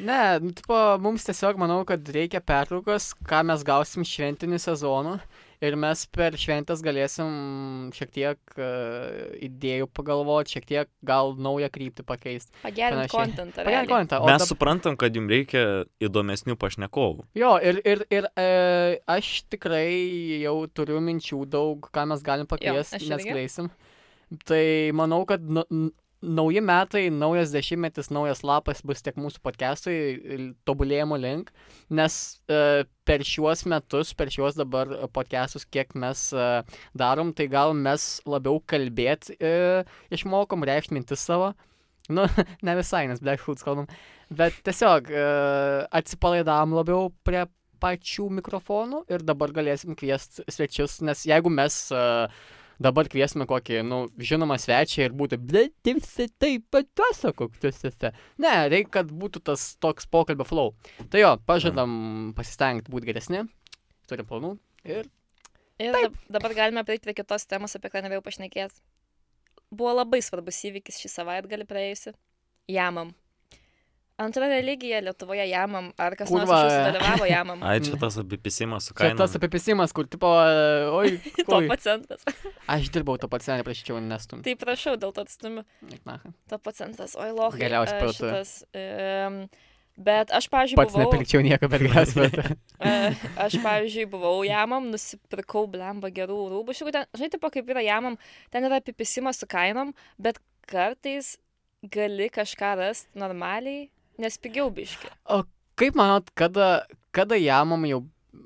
Speaker 2: Ne, nu, tipo, mums tiesiog manau, kad reikia pertraukos, ką mes gausim šventinį sezoną ir mes per šventas galėsim šiek tiek uh, idėjų pagalvoti, šiek tiek gal naują kryptį pakeisti.
Speaker 3: Pagerinti
Speaker 2: Panašiai.
Speaker 3: kontentą.
Speaker 2: Pagerinti
Speaker 3: realiai.
Speaker 2: kontą.
Speaker 1: Mes suprantam, kad jums reikia įdomesnių pašnekovų.
Speaker 2: Jo, ir, ir, ir e, aš tikrai jau turiu minčių daug, ką mes galim pakviesti,
Speaker 3: aš
Speaker 2: nes
Speaker 3: irgi.
Speaker 2: greisim. Tai manau, kad nu- n- nauji metai, naujas dešimtmetis, naujas lapas bus tiek mūsų podcastui il- tobulėjimo link, nes e, per šiuos metus, per šiuos dabar e, podcastus, kiek mes e, darom, tai gal mes labiau kalbėti e, išmokom, reikšti mintis savo. Nu, ne visai, nes Black Hoods kalbam. Bet tiesiog e, atsipalaidavom labiau prie pačių mikrofonų ir dabar galėsim kviesti svečius, nes jeigu mes e, dabar kviesime kokį, nu, žinomą svečią ir būtų, bet timsi taip pat tuose kokiuose. Ne, reikia, kad būtų tas toks pokalbio flow. Tai jo,
Speaker 3: Mhm.
Speaker 2: pažadam pasistengti būti geresni, turim planų ir
Speaker 3: Ir dab- dabar galime prieiti prie kitos temos, apie kurią norėjau pašnekėti. Buvo labai svarbus įvykis šį savaitgalį praėjusi. Jamam. Antra religija Lietuvoje jamam. Ar kas nors
Speaker 2: Kurva.
Speaker 3: iš jūsų dalyvavo jamam?
Speaker 1: Ai, čia tas apipisimas su
Speaker 2: Mm. čia
Speaker 1: kaina.
Speaker 2: tas apipisimas, kur tipo, e, oi,
Speaker 3: To
Speaker 2: oi.
Speaker 3: pacientas.
Speaker 2: Aš dirbau to pats seniai, prašyčiau, nestumti.
Speaker 3: Tai prašau, dėl to atstumiu. to pacientas, oi lochai.
Speaker 2: Galiausiai
Speaker 3: e,
Speaker 2: parduotuvė.
Speaker 3: šitas. em, bet aš, pavyzdžiui,
Speaker 2: Pats
Speaker 3: buvau,
Speaker 2: nepirkčiau nieko, bet galiausiai.
Speaker 3: e, aš, pavyzdžiui, buvau jamam, nusipirkau blemba gerų rūbų. Šiaip, ten, žinai, tipo, kaip yra jamam, ten yra apipisimas su kainom, bet kartais gali kažką rasti normaliai, nes pigiau biški.
Speaker 2: Kaip manot, kada, kada jamam jau,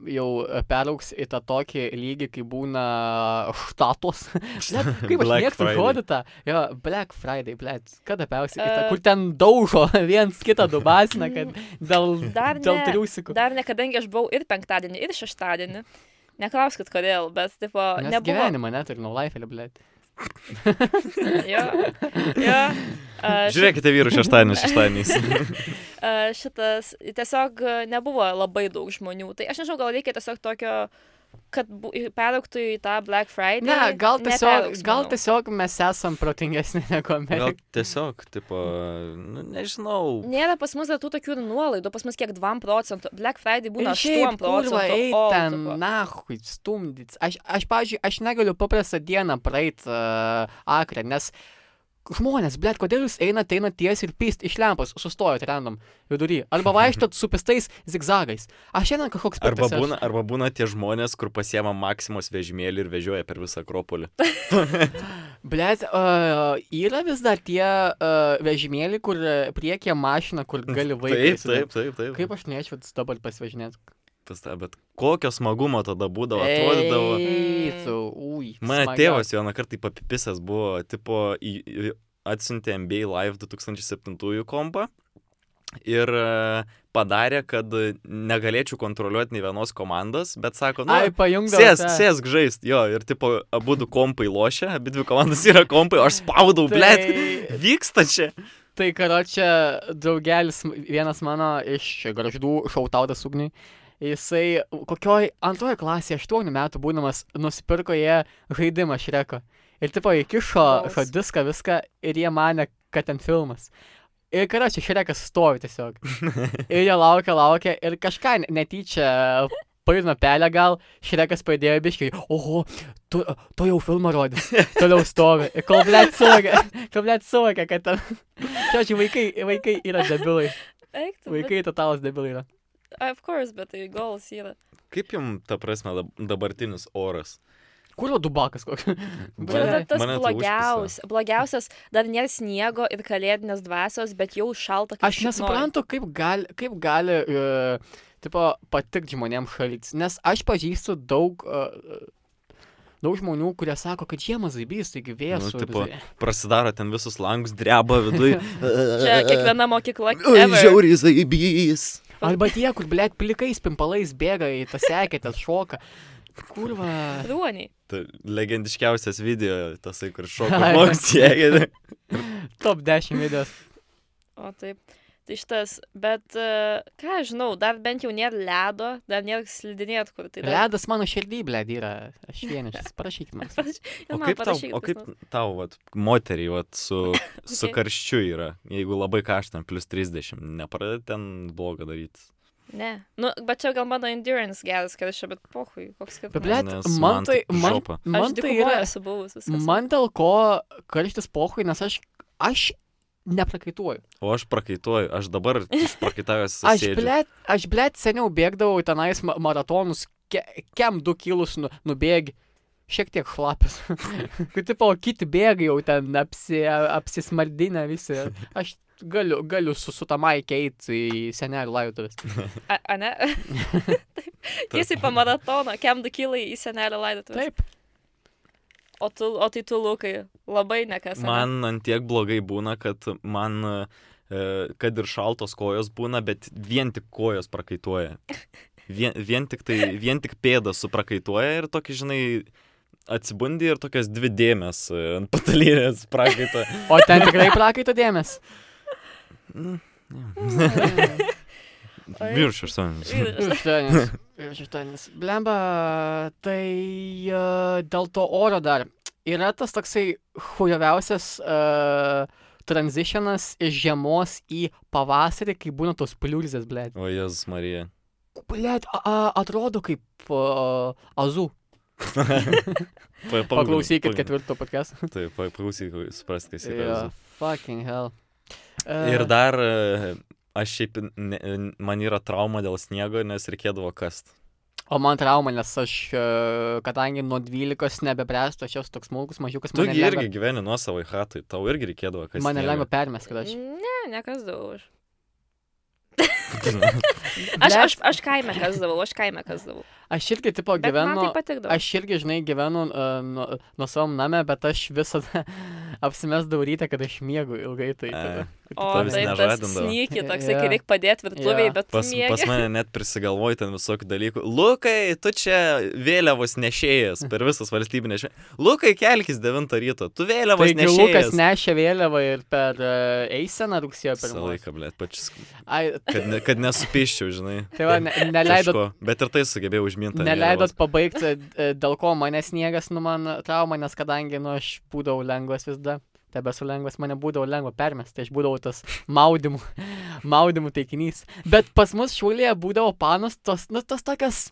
Speaker 2: jau perauks į tą tokį lygį, kai būna štatos? Net, kaip aš
Speaker 1: Black
Speaker 2: mėgstu
Speaker 1: Friday.
Speaker 2: žodį tą? Jo, Black Friday, ble, kada perauks į tą,
Speaker 3: E.
Speaker 2: kur ten daužo viens kitą dubasina, kad dėl,
Speaker 3: Mm. Dar
Speaker 2: dėl
Speaker 3: ne,
Speaker 2: triusikų.
Speaker 3: Dar ne, kadangi aš buvau ir penktadienį, ir šeštadienį. Neklauskit, kodėl, bet, tipo,
Speaker 2: Nes
Speaker 3: nebuvo.
Speaker 2: gyvenimą net ir nulaifelį, ble.
Speaker 3: Jo, jo.
Speaker 2: tai
Speaker 3: A,
Speaker 1: Žiūrėkite vyrų šeštadienį šeštadieniais.
Speaker 3: E, šitas tiesiog e, nebuvo labai daug žmonių. Tai aš nežinau, gal reikia tiesiog tokio, kad bu- i- peraugtų į tą Black Friday.
Speaker 2: Ne, gal tiesiog,
Speaker 3: Tai neperaugs,
Speaker 2: gal
Speaker 3: manau.
Speaker 2: tiesiog mes esam protingesni negu
Speaker 1: Gal
Speaker 2: Amerikai.
Speaker 1: tiesiog, tipo, nu, nežinau.
Speaker 3: Nėra pas mus dar tų tokių nuolaidų, pas mus kiek 2 procentų. Black Friday būna
Speaker 2: Ir šiaip,
Speaker 3: 8 procentų.
Speaker 2: kurva, eik
Speaker 3: o,
Speaker 2: ten,
Speaker 3: tipo,
Speaker 2: nahui, stumdytis. Aš, aš pavyzdžiui, aš negaliu paprastą dieną praeit uh, akrę, nes žmonės, blėt, kodėl jūs einate, einate tiesiai ir pyst iš lempos, sustojot random vidury. Arba vaikštot su pistais zigzagais. Aš šiandien kažkoks
Speaker 1: Arba
Speaker 2: piktas esu.
Speaker 1: būna, arba būna tie žmonės, kur pasiema Maksimos vežimėlį ir vežioja per visą Akropolį.
Speaker 2: Blet, uh, yra vis dar tie uh, vežimėliai, kur e, priekyje mašina, kur gali vaikyti.
Speaker 1: Taip, taip, taip, taip.
Speaker 2: Kaip aš nečiau dabar pasivažinėti?
Speaker 1: Pas tą, bet kokio smagumo tada būdavo, atrodydavo.
Speaker 2: Eitų, ui.
Speaker 1: Mano
Speaker 2: smaga.
Speaker 1: tėvas vieną kartą papipisas buvo, tipo, į, į, atsiuntė NBA Live 2007 kompą ir e, padarė, kad negalėčiau kontroliuoti nei vienos komandos, bet sako, nu,
Speaker 2: Ai, pajungdavo.
Speaker 1: sėsk,
Speaker 2: tą.
Speaker 1: sėsk žaist, jo, ir tipo, abu du kompai lošia, abi dvi komandos yra kompai, o aš spaudau,
Speaker 2: Tai-
Speaker 1: blėt, vyksta čia.
Speaker 2: Tai karo čia draugelis, m- vienas mano iš graždų šautaudas ugniui. Jisai kokioj antroje klasėje, aštuonių metų būdamas, nusipirko jie žaidimą šreko. Ir tipo įkišo
Speaker 3: Vals.
Speaker 2: šo diską viską ir jie mane, kad ten filmas. Ir karo čia šrekas stovi tiesiog. Ir jie laukia, laukia ir kažką ne- netyčia pajudino pelę gal, šrekas pajudėjo biškai, oho, tu, tu jau filmą rodys, toliau stovi. Ir Kol net suvokia, kol net suvokia, kad ten... Šiaip vaikai, vaikai yra debilai.
Speaker 3: eik tu,
Speaker 2: Vaikai totalas debilai yra.
Speaker 3: bet- Of course, bet tai goals yra.
Speaker 1: Kaip jums, ta prasme, dab- dabartinis oras?
Speaker 2: Kur jo dubakas koks?
Speaker 3: Čia
Speaker 2: Mane-
Speaker 3: yra tas
Speaker 1: mane tai
Speaker 3: blogiausias. Blogiausias dar nėra sniego ir kalėdinės dvasios, bet jau šalta. kaip
Speaker 2: Aš
Speaker 3: šiknoj.
Speaker 2: nesuprantu, kaip gali, kaip gali э, uh, tipo, patikti žmonėms šalytis, nes aš pažįstu daug, uh, daug žmonių, kurie sako, kad jie mazaibys, taigi vėjas.
Speaker 1: Nu, tipo, Prasidaro ten visus langus, dreba viduje.
Speaker 3: Čia kiekviena mokykla. ever.
Speaker 1: Žiauriai zaibys.
Speaker 2: Arba tie, kur, blėt, plikais pimpalais bėga į tas sekėtės šoką. Kurva.
Speaker 3: Ruoniai.
Speaker 1: Tai legendiškiausias video, tasai, kur šoka
Speaker 2: Ai.
Speaker 1: žmogus jėgė.
Speaker 2: Top 10 video.
Speaker 3: O taip. Tai šitas, bet e, ką aš žinau, dar bent jau nėra ledo, dar nėra slidinėt kur. Tai dar...
Speaker 2: Ledas mano širdį, blėt, yra. Aš vienišas, parašyk man.
Speaker 3: Ir
Speaker 1: O
Speaker 3: man
Speaker 1: kaip tau,
Speaker 3: parašykit
Speaker 1: o
Speaker 3: kas
Speaker 1: kaip
Speaker 3: nors.
Speaker 1: tau vat, moteriai, vat, su, su
Speaker 3: Okei.
Speaker 1: karščiu yra, jeigu labai karštam, plus 30, nepradeda ten blogo daryti.
Speaker 3: Ne. Nu, bet čia gal mano endurance geras, kad aš čia, bet pohui, koks kaip.
Speaker 2: Bet, blėt,
Speaker 1: Nes
Speaker 2: man tai, man,
Speaker 1: žopa.
Speaker 2: man tai yra.
Speaker 3: esu buvus viskas.
Speaker 2: Man dėl ko karštis pohui, nes aš, aš neprakaituoju.
Speaker 1: O aš prakaituoju, aš dabar išprakaitavęs
Speaker 2: Aš
Speaker 1: sėdžiu.
Speaker 2: blėt, aš blėt seniau bėgdavau į tenais ma- maratonus, ke, kem du kilus nu, nubėgi. Šiek tiek šlapis. Kaip tipo, kiti bėga jau ten apsi, apsismardinę visi. Aš galiu, galiu su, su tamai keiti į senelį laidotuvės.
Speaker 3: A, a ne? Tiesiai po maratono, kem du kilai į senelio laidotuvę.
Speaker 2: Taip.
Speaker 3: O, tu, o tai tu, Lukai, labai nekas. ane?
Speaker 1: Man ant tiek blogai būna, kad man, e, kad ir šaltos kojos būna, bet vien tik kojos prakaituoja. Vien, vien, tik, tai, vien tik pėdas suprakaituoja ir tokį, žinai, atsibundi ir tokias dvi dėmes e, ant patalynės prakaito.
Speaker 2: O ten tikrai prakaito dėmesį.
Speaker 1: Mm,
Speaker 3: Oi.
Speaker 1: Virš aštuonis.
Speaker 3: Ir-
Speaker 2: Žitanis. Žitanis. Blemba, tai uh, dėl to oro dar. Yra tas toksai hujaviausias uh, tranzitionas iš žiemos į pavasarį, kai būna tos pliurzės, blėt.
Speaker 1: O Jėzus Marija.
Speaker 2: Blėt, a- a- atrodo kaip uh, azu.
Speaker 1: Pa- pagulink,
Speaker 2: Paklausykit
Speaker 1: pagulink.
Speaker 2: ketvirto podcast.
Speaker 1: Taip, pa- paklausykit, suprast, kas yra.
Speaker 2: Jo,
Speaker 1: Jėzus.
Speaker 2: Fucking hell.
Speaker 1: Ir dar e, aš šiaip, ne, man yra trauma dėl sniego, nes reikėdavo kast.
Speaker 2: O man trauma, nes aš, e, kadangi nuo 12 nebebręstu, aš esu toks smulkus, mažiukas,
Speaker 1: Tu
Speaker 2: mane
Speaker 1: gi
Speaker 2: lengva-
Speaker 1: irgi gyveni nuo savo hatai, tau irgi reikėdavo kast.
Speaker 2: mane lengva
Speaker 1: sniegą.
Speaker 2: permesti, kad aš.
Speaker 3: Ne, nekas daug. Aš, aš, aš kaime kasdavau, aš kaime kasdavau.
Speaker 2: Aš irgi, tipo,
Speaker 3: Bet man tai
Speaker 2: gyvenu.
Speaker 3: patikdavo.
Speaker 2: Aš irgi, žinai, gyvenu uh, nuo, nuo savo name, bet aš visada apsimesdavau ryte, kad aš miegu ilgai. Tai, tada.
Speaker 1: E,
Speaker 3: O
Speaker 1: Tavęs
Speaker 3: tai tas
Speaker 1: nežadindavo.
Speaker 3: snyki, toks,
Speaker 2: Jo.
Speaker 3: kai reikia padėti virtuvėje,
Speaker 2: Jo.
Speaker 3: bet
Speaker 1: Pas,
Speaker 3: pas,
Speaker 1: pas mane net prisigalvoji ten visokių dalykų. Lukai, tu čia vėliavos nešėjas per visas valstybinės. šve- Lukai, kelkis 9 ryto, tu vėliavos
Speaker 2: Taigi
Speaker 1: nešėjas.
Speaker 2: Lukas Tai nešė vėliavą ir per uh, eiseną rugsėjo
Speaker 1: Visą
Speaker 2: pirmą.
Speaker 1: laiką, blėt, pačius,
Speaker 2: Ai,
Speaker 1: kad, ne, kad nesupiščiau, žinai.
Speaker 2: tai va, ne, neleidot,
Speaker 1: Kažko. Bet ir tai sugebėjau užminti. ant
Speaker 2: neleidot pabaigti, e, dėl ko manęs sniegas, nu man trauma, nes kadangi, nu, aš būdavau lengvas vis dar. Tebesu lengvas, mane būdavo lengva permesti, aš būdavau tas maudimų, maudimų taikinys. Bet pas mus šiulėje būdavo panos tos, nu, tos tokias,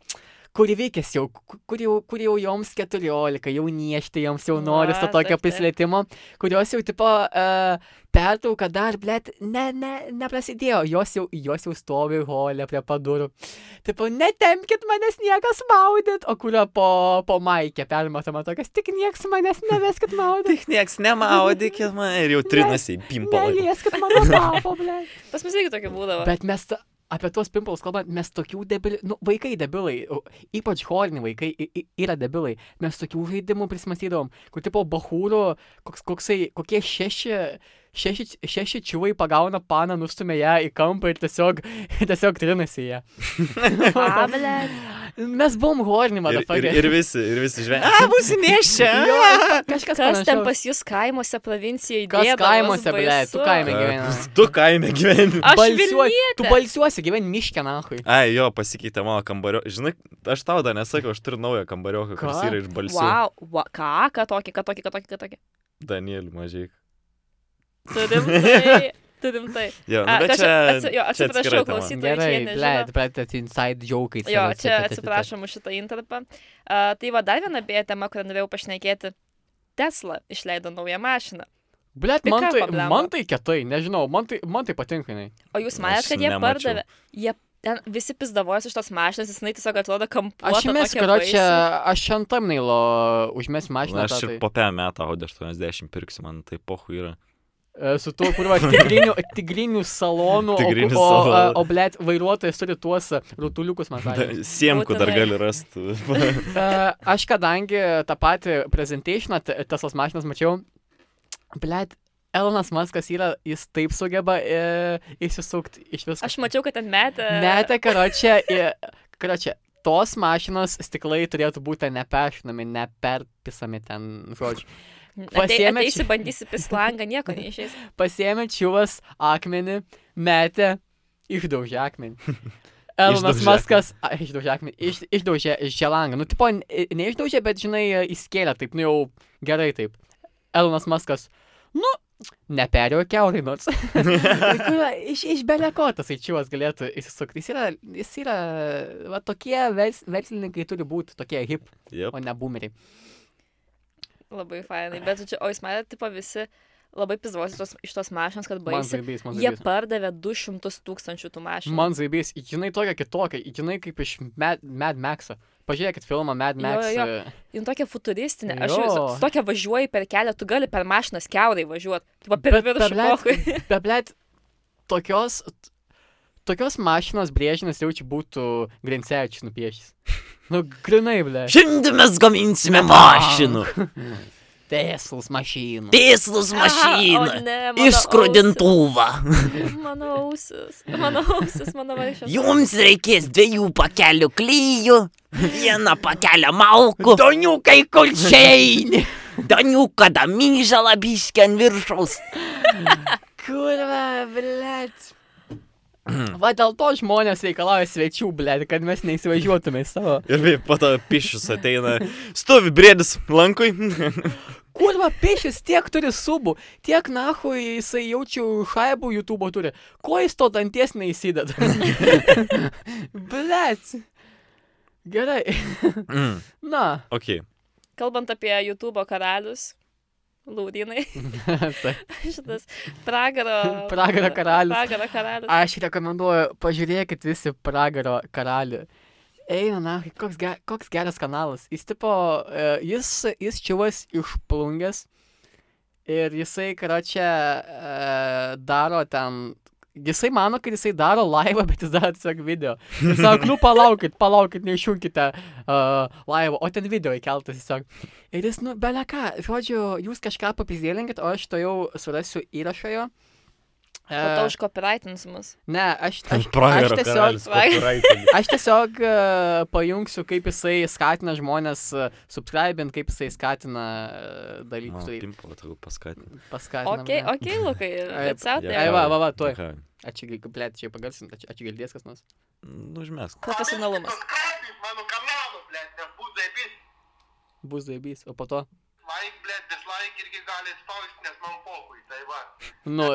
Speaker 2: kur įvykęs jau, ku- kur jau, kur jau joms 14, jau niešti, joms jau noris to
Speaker 3: Va,
Speaker 2: tokio
Speaker 3: taip, taip.
Speaker 2: prisilietimo, kurios jau tipo uh, pertrauka dar, blėt, ne, ne, neprasidėjo, jos jau, jos jau stovi holė prie padurų. Tipo, netempkit manęs niekas maudyt, o kurio po, po maikė permatoma tokias, tik niekas manęs neveskit maudyt.
Speaker 1: Tik nieks nemaudykit mane ir jau trinasi į pimpalą.
Speaker 2: Nelieskit mano papo, blėt.
Speaker 3: pas mus irgi tokia būdavo.
Speaker 2: Bet mes ta- apie tuos pimpalus kalbant, mes tokių debilų, nu, vaikai debilai, o ypač horni vaikai i- i- yra debilai, mes tokių žaidimų prismatydavom, kur tipo bahūro, koks, koksai, kokie šeši, šeši, šeši čiuvai pagauna paną, nustumia ją į kampą ir tiesiog, tiesiog trinasi ją.
Speaker 3: Pablė.
Speaker 2: Mes buvom horni, man
Speaker 1: Ir, ir,
Speaker 2: atrodo.
Speaker 1: ir visi, ir visi žvengė. A, būsi nešia.
Speaker 2: Kažkas
Speaker 3: Kas ten
Speaker 2: panašaus.
Speaker 3: pas jūs kaimuose, provincijoje,
Speaker 2: Kas
Speaker 3: dėdavo,
Speaker 2: kaimuose,
Speaker 3: baisu.
Speaker 2: blėt, tu kaime gyveni.
Speaker 1: Tu kaime gyveni.
Speaker 3: Aš
Speaker 2: Balsiuo- Tu
Speaker 3: Vilnietė.
Speaker 2: balsiuosi, gyveni miške, nahui.
Speaker 1: Ai, jo, pasikeitė mano kambario. Žinai, aš tau dar nesakiau, aš turiu naują kambario, kuris
Speaker 2: Ką?
Speaker 1: yra iš balsų.
Speaker 3: Wow, wa, ką, ką tokį, ką tokį, ką tokį, ką tokį.
Speaker 1: Danielį mažai.
Speaker 3: Turim tai, turim tai.
Speaker 1: Jo, nu,
Speaker 3: A,
Speaker 1: bet
Speaker 3: tai aš
Speaker 1: čia,
Speaker 3: atsi- jo,
Speaker 1: čia
Speaker 3: atsiprašau,
Speaker 1: atskira tema.
Speaker 3: klausyt. Tai čia
Speaker 2: Gerai,
Speaker 3: nežino.
Speaker 2: blėt, blėt, tas inside jokai.
Speaker 3: Jo, čia atsiprašom už šitą interpą. Uh, tai va, dar viena beje tema, kurią norėjau pašnekėti. Tesla išleido naują mašiną.
Speaker 2: Blet,
Speaker 3: Tai
Speaker 2: man
Speaker 3: ką
Speaker 2: tai,
Speaker 3: problema?
Speaker 2: man tai kietai, nežinau, man tai, man tai patinka, jinai.
Speaker 3: O jūs
Speaker 1: Aš
Speaker 3: manėt, kad jie
Speaker 1: nemačiau.
Speaker 3: pardavė? Jie ten visi pizdavojas iš tos mašinos, jis jinai tiesiog atrodo kampuota.
Speaker 2: Aš mes,
Speaker 3: tokia
Speaker 2: kad čia,
Speaker 3: baisi.
Speaker 2: aš šiandien tamnailo užmės mašiną.
Speaker 1: Na, aš
Speaker 2: tą
Speaker 1: ir
Speaker 2: tai.
Speaker 1: po pę metą Audi 80 pirksiu, man tai pohu yra.
Speaker 2: E, su tuo, kur va, tigrinių, tigrinių salonų,
Speaker 1: Tigrinių
Speaker 2: o, o, o,
Speaker 1: salonų.
Speaker 2: o blėt, vairuotojas turi tuos e, rutuliukus, man sakė.
Speaker 1: Siemku dar
Speaker 3: Būtinai.
Speaker 1: gali rasti.
Speaker 2: E, Aš kadangi tą patį prezentationą Teslas mašinas mačiau, blėt, Elonas Maskas yra, jis taip sugeba e, išsisukti iš visko.
Speaker 3: Aš mačiau, kad ten metė.
Speaker 2: Metė, karočią, karočią, tos mašinos stiklai turėtų būti nepešinami, neperpisami ten, žodžiu. pasiėmė
Speaker 3: Pasiemė.
Speaker 2: čia-
Speaker 3: Ateisi, bandysi pislangą, nieko neišės.
Speaker 2: Pasėmė čiuvas akmenį, metė, išdaužė akmenį. Elonas
Speaker 1: Išdaužė
Speaker 2: Maskas, a, išdaužė akmenį, iš, išdaužė želangą. Nu, tipo, n- neišdaužė, bet, žinai, įskėlė taip, nu jau gerai taip. Elonas Maskas, nu, neperėjo keurai nors. Tai kur- iš iš beleko tas aičiūvas galėtų įsisukti. Jis yra, jis yra, va tokie vers, verslininkai turi būti, tokie hip,
Speaker 1: Jep.
Speaker 2: o ne boomeriai.
Speaker 3: Labai fainai. Bet, žodžiu, o jūs matėte, tipo, visi labai pizduosi tos, iš tos mašinos, kad
Speaker 2: Man
Speaker 3: baisi.
Speaker 2: zaibys, man
Speaker 3: Jie
Speaker 2: zaibys.
Speaker 3: pardavė 200 tūkstančių tų mašinų.
Speaker 2: Man zaibys, jinai tokia kitokia, jinai kaip iš Mad, Mad Max'o. Pažiūrėkit filmą Mad
Speaker 3: Jo,
Speaker 2: Max.
Speaker 3: jo,
Speaker 2: e,
Speaker 3: Jin tokia futuristinė. Aš
Speaker 2: Jo.
Speaker 3: jau su tokia važiuoju per kelią, tu gali per mašinas keurai važiuoti. Tu per
Speaker 2: Bet
Speaker 3: viršų
Speaker 2: per
Speaker 3: mokui.
Speaker 2: Bet, blėt, tokios, tokios mašinos brėžinas jaučiu būtų Grincevičius nupiešęs. Nu, grinai, blėt.
Speaker 4: Šiandien mes gaminsime
Speaker 2: mašinų. Teslas mašinų.
Speaker 4: Tieslus
Speaker 3: Aha, o ne, mano ausis. Mano ausis, mano ausis, mano vaikščias.
Speaker 4: reikės dviejų pakelių klyjų, vieną pakelę maukų. Doniukai kulčiai. Doniuką damyžą labiškį ant viršaus.
Speaker 2: Kurva, blėt. Va dėl to žmonės reikalauja svečių, blėt, kad mes neįsivažiuotume į savo.
Speaker 1: Ir kaip po to pišius ateina. Stovi brėdis lankui.
Speaker 2: Kurva, pešis tiek turi subų, tiek nahui jisai jaučiu šaibų YouTube turi. Ko jis to danties neįsideda? blėt. Gerai.
Speaker 1: Mm.
Speaker 2: Na.
Speaker 1: Ok.
Speaker 3: Kalbant apie YouTube karalius, laudinai,
Speaker 2: Tai.
Speaker 3: šitas pragaro.
Speaker 2: Pragaro karalius.
Speaker 3: Pragaro karalius.
Speaker 2: Aš rekomenduoju, pažiūrėkit visi pragaro karalių. Eina, na, koks, ge, koks geras kanalas. Jis tipo, e, jis, jis čiuvas išplungęs ir jisai, karo čia, e, daro ten, jisai mano, kad jisai daro laivą, bet jis daro tiesiog video. Jis sako, nu palaukit, palaukit, neišjungkite uh, laivą, o ten video įkeltas tiesiog. Ir jis, nu, belia ką, žodžiu, jūs kažką papizdėlinkit, o aš to jau surasiu E, įrašą jo.
Speaker 3: Po to užkopiraitins mus.
Speaker 2: Ne, aš, aš, aš
Speaker 1: Pragaro
Speaker 2: tiesiog,
Speaker 1: karalius.
Speaker 3: Vai.
Speaker 1: copywriting.
Speaker 2: aš tiesiog e, pajungsiu, kaip jisai skatina žmonės e, subscribint, kaip jisai skatina e,
Speaker 1: Mano
Speaker 2: dalykus, tai
Speaker 1: pimplą tegul paskatina.
Speaker 2: paskatina.
Speaker 3: Ok, ok, Lukai, tai
Speaker 2: Ai,
Speaker 1: Ai,
Speaker 2: Ai,
Speaker 3: atsiautė.
Speaker 2: va, va, va, tuoj.
Speaker 1: Ką?
Speaker 2: Ačiū, gi- blėt, čia pagarsinti, ačiū, ačiū girdės kas nors.
Speaker 1: Nu, užmesk.
Speaker 3: Profesionalumas.
Speaker 5: Paskatink mano kanalą, blėt, nes būtų zaibis.
Speaker 2: Bus daibys, o po to.
Speaker 5: Like, blėt, dislike irgi gali spausti, nes man pokui, tai va.
Speaker 2: Nu,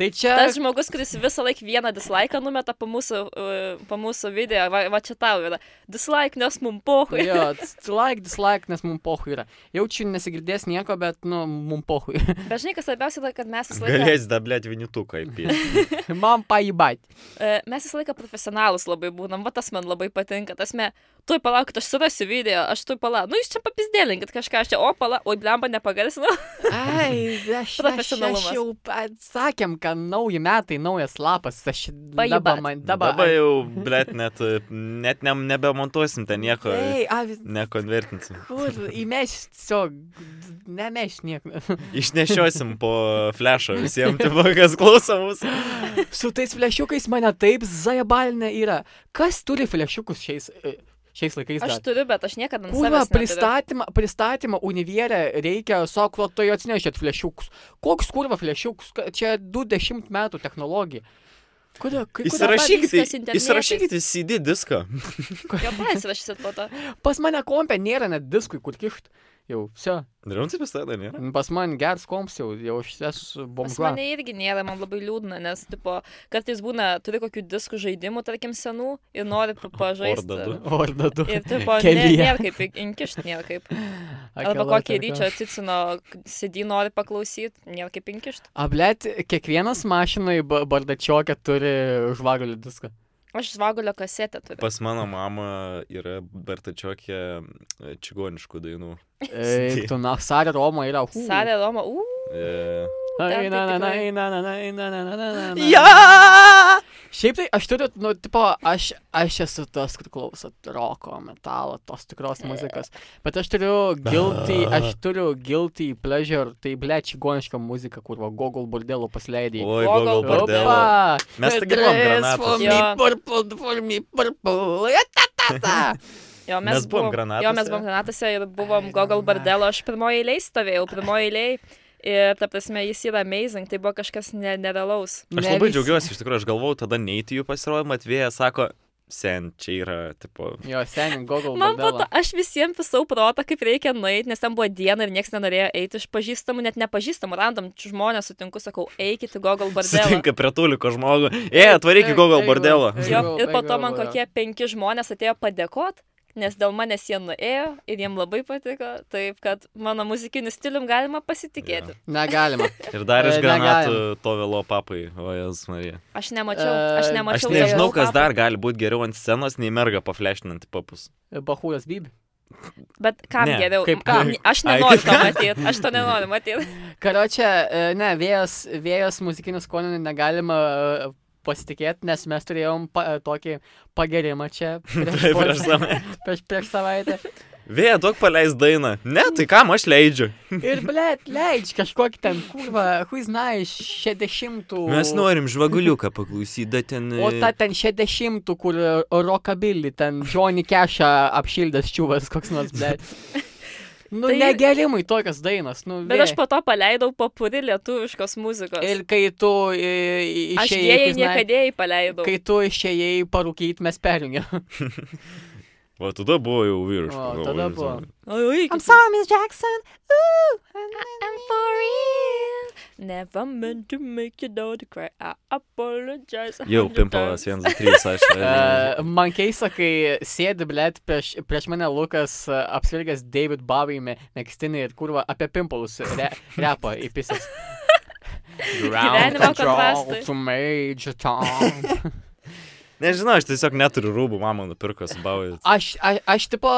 Speaker 2: tai čia...
Speaker 3: Tas žmogus, kuris visą laiką vieną dislaiką numeta po mūsų, uh, po mūsų video, va, va čia tau yra. Dislaik, nes mum pohui.
Speaker 2: Jo, t- like, dislike, nes mum pohui yra. Jaučiu, nesigirdės nieko, bet, nu, mum pohui.
Speaker 3: Bet žinai, kas svarbiausia, yra, kad mes visą laiką...
Speaker 1: Galės dablėt vinituką įpėsti.
Speaker 2: Man paibait.
Speaker 3: E, mes visą laiką profesionalus labai būnam, va tas man labai patinka, tas me, tu palaukit, aš surasiu video, aš tu palauk, nu jūs čia papizdėlinkit kažką, aš čia, o palauk, oi blemba nepagarsinu.
Speaker 2: Ai, aš, aš, aš
Speaker 3: Profesionalumas.
Speaker 2: jau pat sakėm, kad nauji metai, naujas lapas, aš dabar
Speaker 3: Pajibat.
Speaker 2: man dabar.
Speaker 1: Dabar jau, blėt, net, e, net ne, nebemontuosim ten nieko.
Speaker 2: Ei, a, vis-
Speaker 1: Nekonvertinsim.
Speaker 2: kur įmeš, tiesiog, nemeš nieko.
Speaker 1: Išnešiosim po flešą visiems, tipo, kas klauso mūsų.
Speaker 2: Su tais flešiukais mane taip zajabalinė yra. Kas turi flešiukus šiais, e, šiais laikais?
Speaker 3: Aš
Speaker 2: dar?
Speaker 3: turiu, bet aš niekada
Speaker 2: Kūva,
Speaker 3: nesuprantu.
Speaker 2: pristatymą, pristatymą univierę reikia, sako, tai atsinešėt flešiukus. Koks kurva flešiukus? Ka- Čia 20 metų technologija. Kodėl? kai- kodėl-
Speaker 1: Įsirašykite,
Speaker 3: viskas internetais.
Speaker 1: įsirašykite į CD diską.
Speaker 3: Jo, persirašysit po to.
Speaker 2: Pas mane kompė nėra net diskui, kur kišt. Jau, čia.
Speaker 1: Rimtai pastatė, ne?
Speaker 2: Pas man geras komps jau, jau aš esu
Speaker 3: Pas
Speaker 2: bomba.
Speaker 3: mane irgi nėra, man labai liūdna, nes, tipo, kartais būna, turi kokių diskų žaidimų, tarkim, senų ir nori pa-
Speaker 1: Orda
Speaker 3: pažaisti.
Speaker 1: du.
Speaker 2: O, ar dadu.
Speaker 3: Ir, tipo, nė,
Speaker 2: Kelyje.
Speaker 3: nėra kaip, į- inkišt nėra kaip. Arba kokį ryčio atsicino, sidį nori paklausyti, nėra kaip inkišt.
Speaker 2: Ablėt, kiekvienas mašinai ba- bardačioke turi žvagulį diską.
Speaker 3: Aš žvagulio kasetę turiu.
Speaker 1: Pas mano mamą yra bertačiokė čigoniškų dainų.
Speaker 2: Eik, tu, na, Sarė Roma yra. hu.
Speaker 3: Salė Roma, uuu.
Speaker 1: E,
Speaker 2: Na,
Speaker 3: Ten
Speaker 2: na, na,
Speaker 3: tai
Speaker 2: na,
Speaker 3: tikrai-
Speaker 2: na, na, na, na, na, na, na, na, na.
Speaker 3: Ja!
Speaker 2: Šiaip tai aš turiu, nu, tipo, aš, aš esu tas, kur klauso roko, metalo, tos tikros muzikos. Bet aš turiu guilty, aš turiu guilty pleasure, tai blečiai goniška muzika, kur va Google bordelų pasleidai.
Speaker 1: oi,
Speaker 3: Gogol
Speaker 1: Google bordelą.
Speaker 2: Opa!
Speaker 1: Mes taigi buvom granatos.
Speaker 2: For me
Speaker 3: Jo.
Speaker 2: purple, for me purple. Ja, ta, ta, ta.
Speaker 3: Jo, mes,
Speaker 1: Mes buvom Granatose.
Speaker 3: Jo, mes buvom granatose ir buvom
Speaker 2: Ai,
Speaker 3: Gogol
Speaker 2: na.
Speaker 3: Bardelo, aš pirmoji eiliai stovėjau, pirmoji eiliai. Ir, ta prasme, jis yra amazing, tai buvo kažkas ne, nerealaus.
Speaker 1: Aš
Speaker 2: Ne
Speaker 1: labai
Speaker 2: visi.
Speaker 1: džiaugiuosi, iš tikrųjų, aš galvau tada neiti jų pasirodymą, atvėja, sako, sen, čia yra, tipo,
Speaker 2: Jo, seniai, Google
Speaker 3: Man po to,
Speaker 2: bordelą.
Speaker 3: aš visiems pisau protą, kaip reikia nueiti, nes ten buvo diena ir niekas nenorėjo eiti iš pažįstamų, net nepažįstamų, random žmonės sutinku, sakau, eikit į Gogol Bardelą.
Speaker 1: sutinka prie tuliko žmogų, e, atvaryk į
Speaker 2: Eik,
Speaker 1: Google
Speaker 2: eik,
Speaker 1: bordelą.
Speaker 2: eik.
Speaker 3: Jo,
Speaker 2: Eidavau,
Speaker 3: ir po to man
Speaker 2: eidavau, jo.
Speaker 3: kokie penki žmonės atėjo padėkot, nes dėl manęs jie nuėjo ir jiem labai patiko, taip kad mano muzikiniu stilium galima pasitikėti.
Speaker 2: Negalima.
Speaker 1: Ir dar iš
Speaker 2: E,
Speaker 1: granatų to vėlo papai, o jas Marija.
Speaker 3: Aš nemačiau,
Speaker 2: E,
Speaker 3: aš
Speaker 1: Aš
Speaker 3: nemačiau.
Speaker 1: nežinau,
Speaker 3: jokių
Speaker 1: kas
Speaker 3: papų.
Speaker 1: dar gali būti geriau ant scenos, nei merga paflešinanti papus.
Speaker 2: Bahūjas Bibi.
Speaker 3: Bet kam
Speaker 1: Ne,
Speaker 3: ne, geriau?
Speaker 2: kaip
Speaker 3: A,
Speaker 2: kam?
Speaker 3: ne- Aš
Speaker 1: Ai,
Speaker 3: nenoriu
Speaker 1: kaip
Speaker 3: to
Speaker 1: kam?
Speaker 3: matyti, aš to nenoriu matyti.
Speaker 2: Karočią, e, ne, vėjas, vėjas muzikinių skoninių negalima e, pasitikėti, nes mes turėjom pa, e, tokį pagerimą čia prieš,
Speaker 1: Taip,
Speaker 2: porą-
Speaker 1: prieš save.
Speaker 2: prieš, prieš savaitę.
Speaker 1: Vėja, daug paleis dainą. Ne, tai kam aš leidžiu?
Speaker 2: Ir, ble, leidž kažkokį ten kurvą, huiznai, 60.
Speaker 1: Mes norim žvaguliuką paklausyti, bet ten... e,
Speaker 2: O ta ten 60, kur e, rockabilly, ten Johnny Cashą apšildęs čiūvas koks nors, ble. Nu, tai...
Speaker 3: Tai-
Speaker 2: negerimai tokias dainas, nu,
Speaker 3: Bet aš
Speaker 2: vė.
Speaker 3: po to paleidau papuri lietuviškos muzikos.
Speaker 2: Ir kai tu e, išėjai...
Speaker 3: Aš jai niekada paleidau.
Speaker 2: Kai tu išėjai parūkyti, mes perjungėm.
Speaker 1: O tada buvo jau vyriškas.
Speaker 2: O,
Speaker 1: galvoju,
Speaker 2: tada
Speaker 1: žinai.
Speaker 2: buvo.
Speaker 3: Oi, kaip-
Speaker 2: sorry, Miss Jackson. Ooh.
Speaker 3: I'm for real. Never meant to make you daughter cry. I apologize. a
Speaker 1: Jau
Speaker 3: hundred
Speaker 1: pimpalas
Speaker 3: times.
Speaker 1: 1, 2, 3, aš.
Speaker 2: Uh, man keista, kai sėdi, blėt, prieš, prieš mane Lukas uh, apsvilgęs David Bowie me- megztinį ir kurva apie pimpalus re, repo įpisęs.
Speaker 3: Gyvenimo kontrastai.
Speaker 2: to major tom.
Speaker 1: Nežinau, aš tiesiog neturiu rūbų, mama nupirko su bauju.
Speaker 2: Aš, aš, aš tipo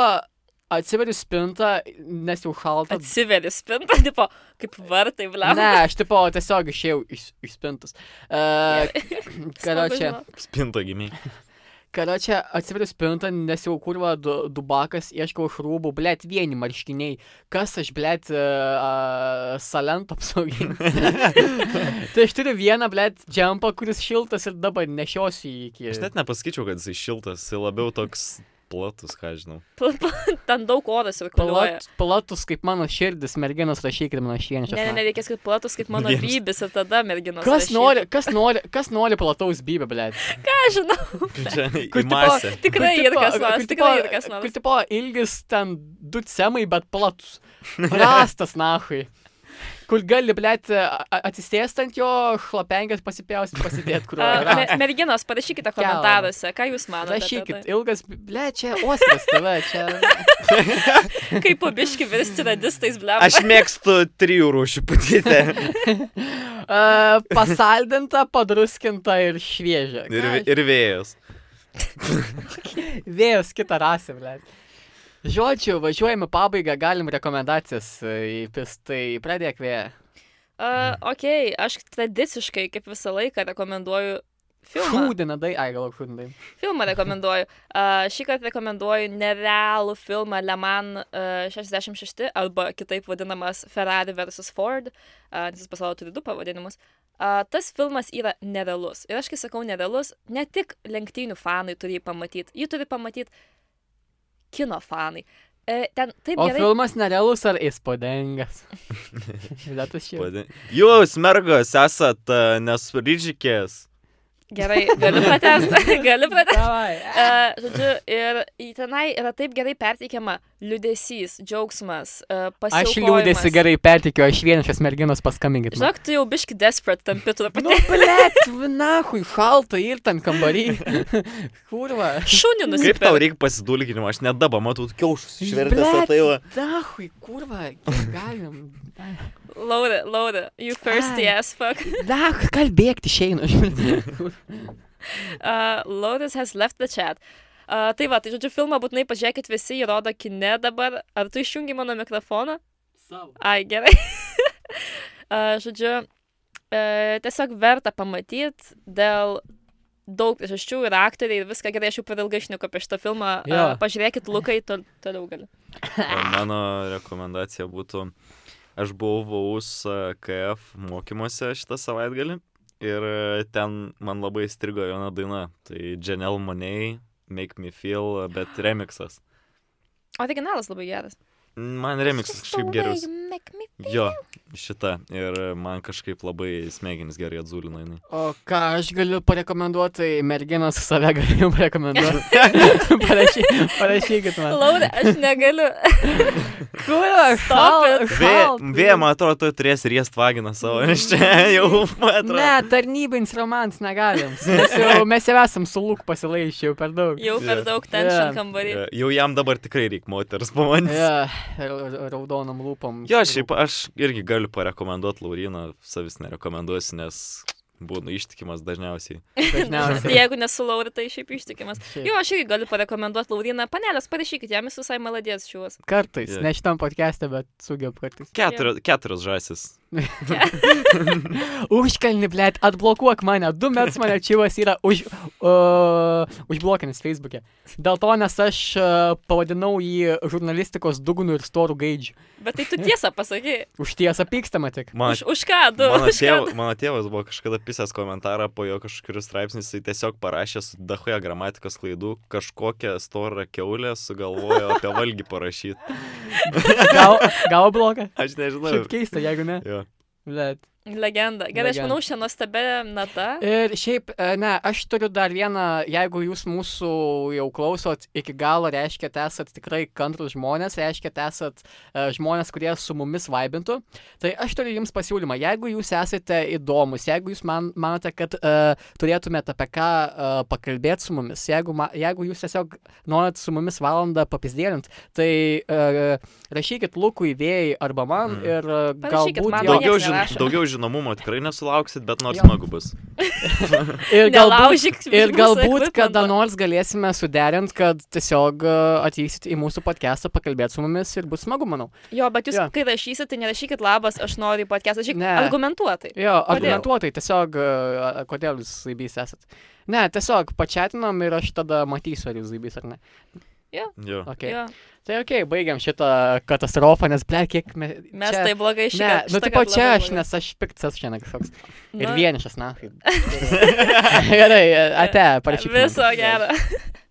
Speaker 2: atsiveriu spintą, nes jau šalta.
Speaker 3: Atsiveri spintą, tipo, kaip vartai, blam.
Speaker 2: Ne, aš tipo tiesiog išėjau iš, iš spintos. Uh, Karočią.
Speaker 1: Spinto gimiai.
Speaker 2: Karočią atsiveriu spintą, nes jau kurva du, dubakas, ieškau šrūbų, blėt vieni marškiniai. Kas aš, blėt, uh, salento apsauginis. tai aš turiu vieną, blėt, džempą, kuris šiltas ir dabar nešiosiu jį iki...
Speaker 1: Aš net nepasakyčiau, kad jisai šiltas, jis labiau toks platus, ką žinau.
Speaker 3: Ten daug odas ir koloja.
Speaker 2: Plat, platus kaip mano širdis, merginos rašykit mano šienčią.
Speaker 3: Ne, ne, nereikės, kad platus kaip mano
Speaker 1: Vienas.
Speaker 3: bybis ir tada merginos.
Speaker 2: Kas
Speaker 3: rašytų.
Speaker 2: nori, kas nori, kas nori plataus bybę, blėt?
Speaker 3: Ką aš žinau?
Speaker 1: Čia į
Speaker 2: Kur tipo-
Speaker 1: masę.
Speaker 3: Tikrai ir kas nors, tikrai ir kas
Speaker 2: Kur
Speaker 3: nors.
Speaker 2: tipo ilgis ten du cemai, bet platus. Rastas nahui. Kur gali, blėt, atsisėsti ant jo, šlapenkės pasipjausti, pasidėti, kur
Speaker 3: A,
Speaker 2: yra.
Speaker 3: me- Merginos, parašykite komentaruose, ką jūs manote. apie
Speaker 2: Rašykit,
Speaker 3: tai.
Speaker 2: ilgas, ble, čia ostas tave, čia.
Speaker 3: Kaip pabiški virsti radistais, blem.
Speaker 1: Aš mėgstu trijų rūšių putytę.
Speaker 2: Uh, pasaldinta, padruskinta ir šviežia.
Speaker 1: Ir, ir vėjas.
Speaker 2: Vėjas kitą rasę, ble. Žodžiu, važiuojame pabaigą, galim rekomendacijas e, įpistai, pradėk vėją.
Speaker 3: Uh, ok, aš tradiciškai, kaip visą laiką, rekomenduoju filmą.
Speaker 2: Šūdinadai, ai gal šūdinadai.
Speaker 3: Filmą rekomenduoju. Uh, šį kartą rekomenduoju nerealų filmą Le Mans uh, 66 arba kitaip vadinamas Ferrari vs. Ford, uh, nes jis pasaulio turi du pavadinimus. Uh, tas filmas yra nerealus. Ir aš kai sakau nerealus, ne tik lenktynių fanai turi jį pamatyti, jį turi pamatyti kino fanai. E, ten taip
Speaker 2: O
Speaker 3: gerai.
Speaker 2: filmas nerealus ar įspūdingas? Lietus šiaip.
Speaker 1: Vadin- Jūs, mergos, esat e, a, nesuryžykės.
Speaker 3: Gerai, galiu pratęsti. galiu pratęsti.
Speaker 2: Davai.
Speaker 3: E, žodžiu, ir į tenai yra taip gerai perteikiama liudesys, džiaugsmas, e,
Speaker 2: Aš
Speaker 3: pasirinkimas.
Speaker 2: liūdėsi gerai pertikiu, aš vienišas merginos paskambinkit. man.
Speaker 3: Žinok, tu jau biški desperate tampi
Speaker 2: Nu,
Speaker 3: truputį.
Speaker 2: blėt, nahui, šalta ir ten kambarį. Kurva.
Speaker 3: Šunį
Speaker 1: Kaip tau
Speaker 3: nusipirkti.
Speaker 1: reikia pasidulkinimo, aš net dabar matau kiaušus išvertęs, o tai va.
Speaker 2: Nahui, kurva, kiek galim.
Speaker 3: Laura, Laura, you thirsty
Speaker 2: Ai.
Speaker 3: as fuck.
Speaker 2: Nah, kalbėkti išeinu.
Speaker 3: Uh, Laura has left the chat. Uh, tai va, tai žodžiu, filmą būtinai pažiūrėkit visi, jį rodo kine dabar. Ar tu išjungi mano mikrofoną? Ai, gerai. A, Uh, žodžiu, e, tiesiog verta pamatyti dėl daug priežasčių ir aktoriai ir viską gerai, aš jau per ilgai šneku apie šitą filmą.
Speaker 2: Jo.
Speaker 3: A, pažiūrėkit, Lukai, tol, toliau galiu.
Speaker 1: O Mano rekomendacija būtų, aš buvau KF mokymuose šitą savaitgalį ir e, ten man labai strigo viena daina. Tai Janelle Money, Make Me Feel, bet remixas.
Speaker 3: Originalas labai geras.
Speaker 1: Man remixas
Speaker 3: Just the
Speaker 1: kažkaip
Speaker 3: way
Speaker 1: geriausias.
Speaker 3: you make me
Speaker 1: Jo, šita. Ir e, man kažkaip labai smegenis gerai atzulino jinai.
Speaker 2: O ką aš galiu parekomenduoti, tai merginos save galiu parekomenduoti. Parašy, parašykit man.
Speaker 3: Laura, aš negaliu.
Speaker 2: Kur aš?
Speaker 3: Stop it.
Speaker 1: Vė-
Speaker 2: tai
Speaker 1: Vėja, man atrodo, tu turėsi riest vaginą savo iš čia, jau man atrodo.
Speaker 2: Mm. Ne, tarnybinis romans negalim. Mes jau, mes jau esam su Luk pasilaišę, jau per daug.
Speaker 3: Jau
Speaker 1: Jo.
Speaker 3: per daug tension
Speaker 2: Jo.
Speaker 3: kambarį.
Speaker 1: E, Jau jam dabar tikrai reikia moters pamatyti.
Speaker 2: Ja, ra- raudonom lūpom.
Speaker 1: Jo, šiaip aš irgi galiu parekomenduoti Lauriną, savis nerekomenduosiu, nes būnu ištikimas dažniausiai.
Speaker 2: Dažniausiai.
Speaker 3: Jeigu nesulaurit, tai šiaip ištikimas.
Speaker 2: Šiaip.
Speaker 3: Jo, aš irgi galiu parekomenduoti Lauriną. Panelės, parašykit, jam jis visai maladės šiuos.
Speaker 2: Kartais,
Speaker 1: Jo.
Speaker 2: ne šitam podcast'e, bet sugeb kartais.
Speaker 1: Keturios, keturios žasis.
Speaker 2: Užkalni, blėt, atblokuok mane. Du metus mane čivas yra už, uh, užblokinis Facebook'e. Dėl to, nes aš uh, pavadinau jį žurnalistikos dugnų ir storų gaidžių.
Speaker 3: Bet tai tu tiesą pasaky.
Speaker 2: Už tiesą pykstama tik.
Speaker 1: Man,
Speaker 3: Už, už ką du?
Speaker 1: mano,
Speaker 3: Už ką
Speaker 1: tėv,
Speaker 3: du?
Speaker 1: mano tėvas buvo kažkada pisęs komentarą po jo kažkokius straipsnius, jis tiesiog parašė su dahoje gramatikos klaidų, kažkokią storą keulę sugalvojo apie valgį parašyti.
Speaker 2: Gal, gal bloga?
Speaker 1: Aš nežinau.
Speaker 2: Šiaip keista, jeigu ne.
Speaker 1: Jo.
Speaker 2: Blėt.
Speaker 3: Legenda. Gerai, aš
Speaker 2: Legenda.
Speaker 3: manau, šią nuostabią natą.
Speaker 2: Ir šiaip, e, ne, aš turiu dar vieną, jeigu jūs mūsų jau klausot iki galo, reiškia, tai esat tikrai kantrus žmonės, reiškia, esat e, žmonės, kurie su mumis vaibintų, tai aš turiu jums pasiūlymą, jeigu jūs esate įdomus, jeigu jūs man, manote, kad e, turėtumėte apie ką e, pakalbėti su mumis, jeigu, ma, jeigu jūs tiesiog norit su mumis valandą papizdėlint, tai e, rašykit Lukui vėjai arba
Speaker 1: Mm.
Speaker 2: man mm. ir e,
Speaker 3: Parašykit
Speaker 2: galbūt
Speaker 3: man,
Speaker 2: jo,
Speaker 3: nieks
Speaker 1: Daugiau, žin,
Speaker 3: nerašo.
Speaker 1: daugiau žinomumo tikrai nesulauksit, bet nors
Speaker 2: Jo.
Speaker 1: smagu bus.
Speaker 2: ir galbūt
Speaker 3: Nelaužyk
Speaker 2: Ir
Speaker 3: mūsų
Speaker 2: galbūt
Speaker 3: equipmento.
Speaker 2: kada nu- nors galėsime suderinti, kad tiesiog e, atvyksit į mūsų podcastą, pakalbėt su mumis ir bus smagu, manau.
Speaker 3: Jo, bet jūs,
Speaker 2: Jo.
Speaker 3: kai rašysit, tai nerašykit labas, aš noriu į podcastą, rašyk
Speaker 2: Ne.
Speaker 3: argumentuotai.
Speaker 2: Jo,
Speaker 1: Kodėl?
Speaker 2: argumentuotai, tiesiog, e, kodėl jūs zaibys esat. Ne, tiesiog pačiatinom ir aš tada matysiu, ar jūs zaibys ar ne.
Speaker 1: Jo.
Speaker 2: Okay.
Speaker 3: Jo.
Speaker 2: Tai ok, baigiam šitą katastrofą, nes ble, kiek me,
Speaker 3: Mes
Speaker 2: čia...
Speaker 3: tai blogai
Speaker 2: Ne,
Speaker 3: išėjome.
Speaker 2: nu taip pat čia aš, nes aš piktas šiandien kažkoks. Ir
Speaker 3: Nu.
Speaker 2: vienišas, na. Gerai, e, ate, parašyk. man.
Speaker 3: Viso gero.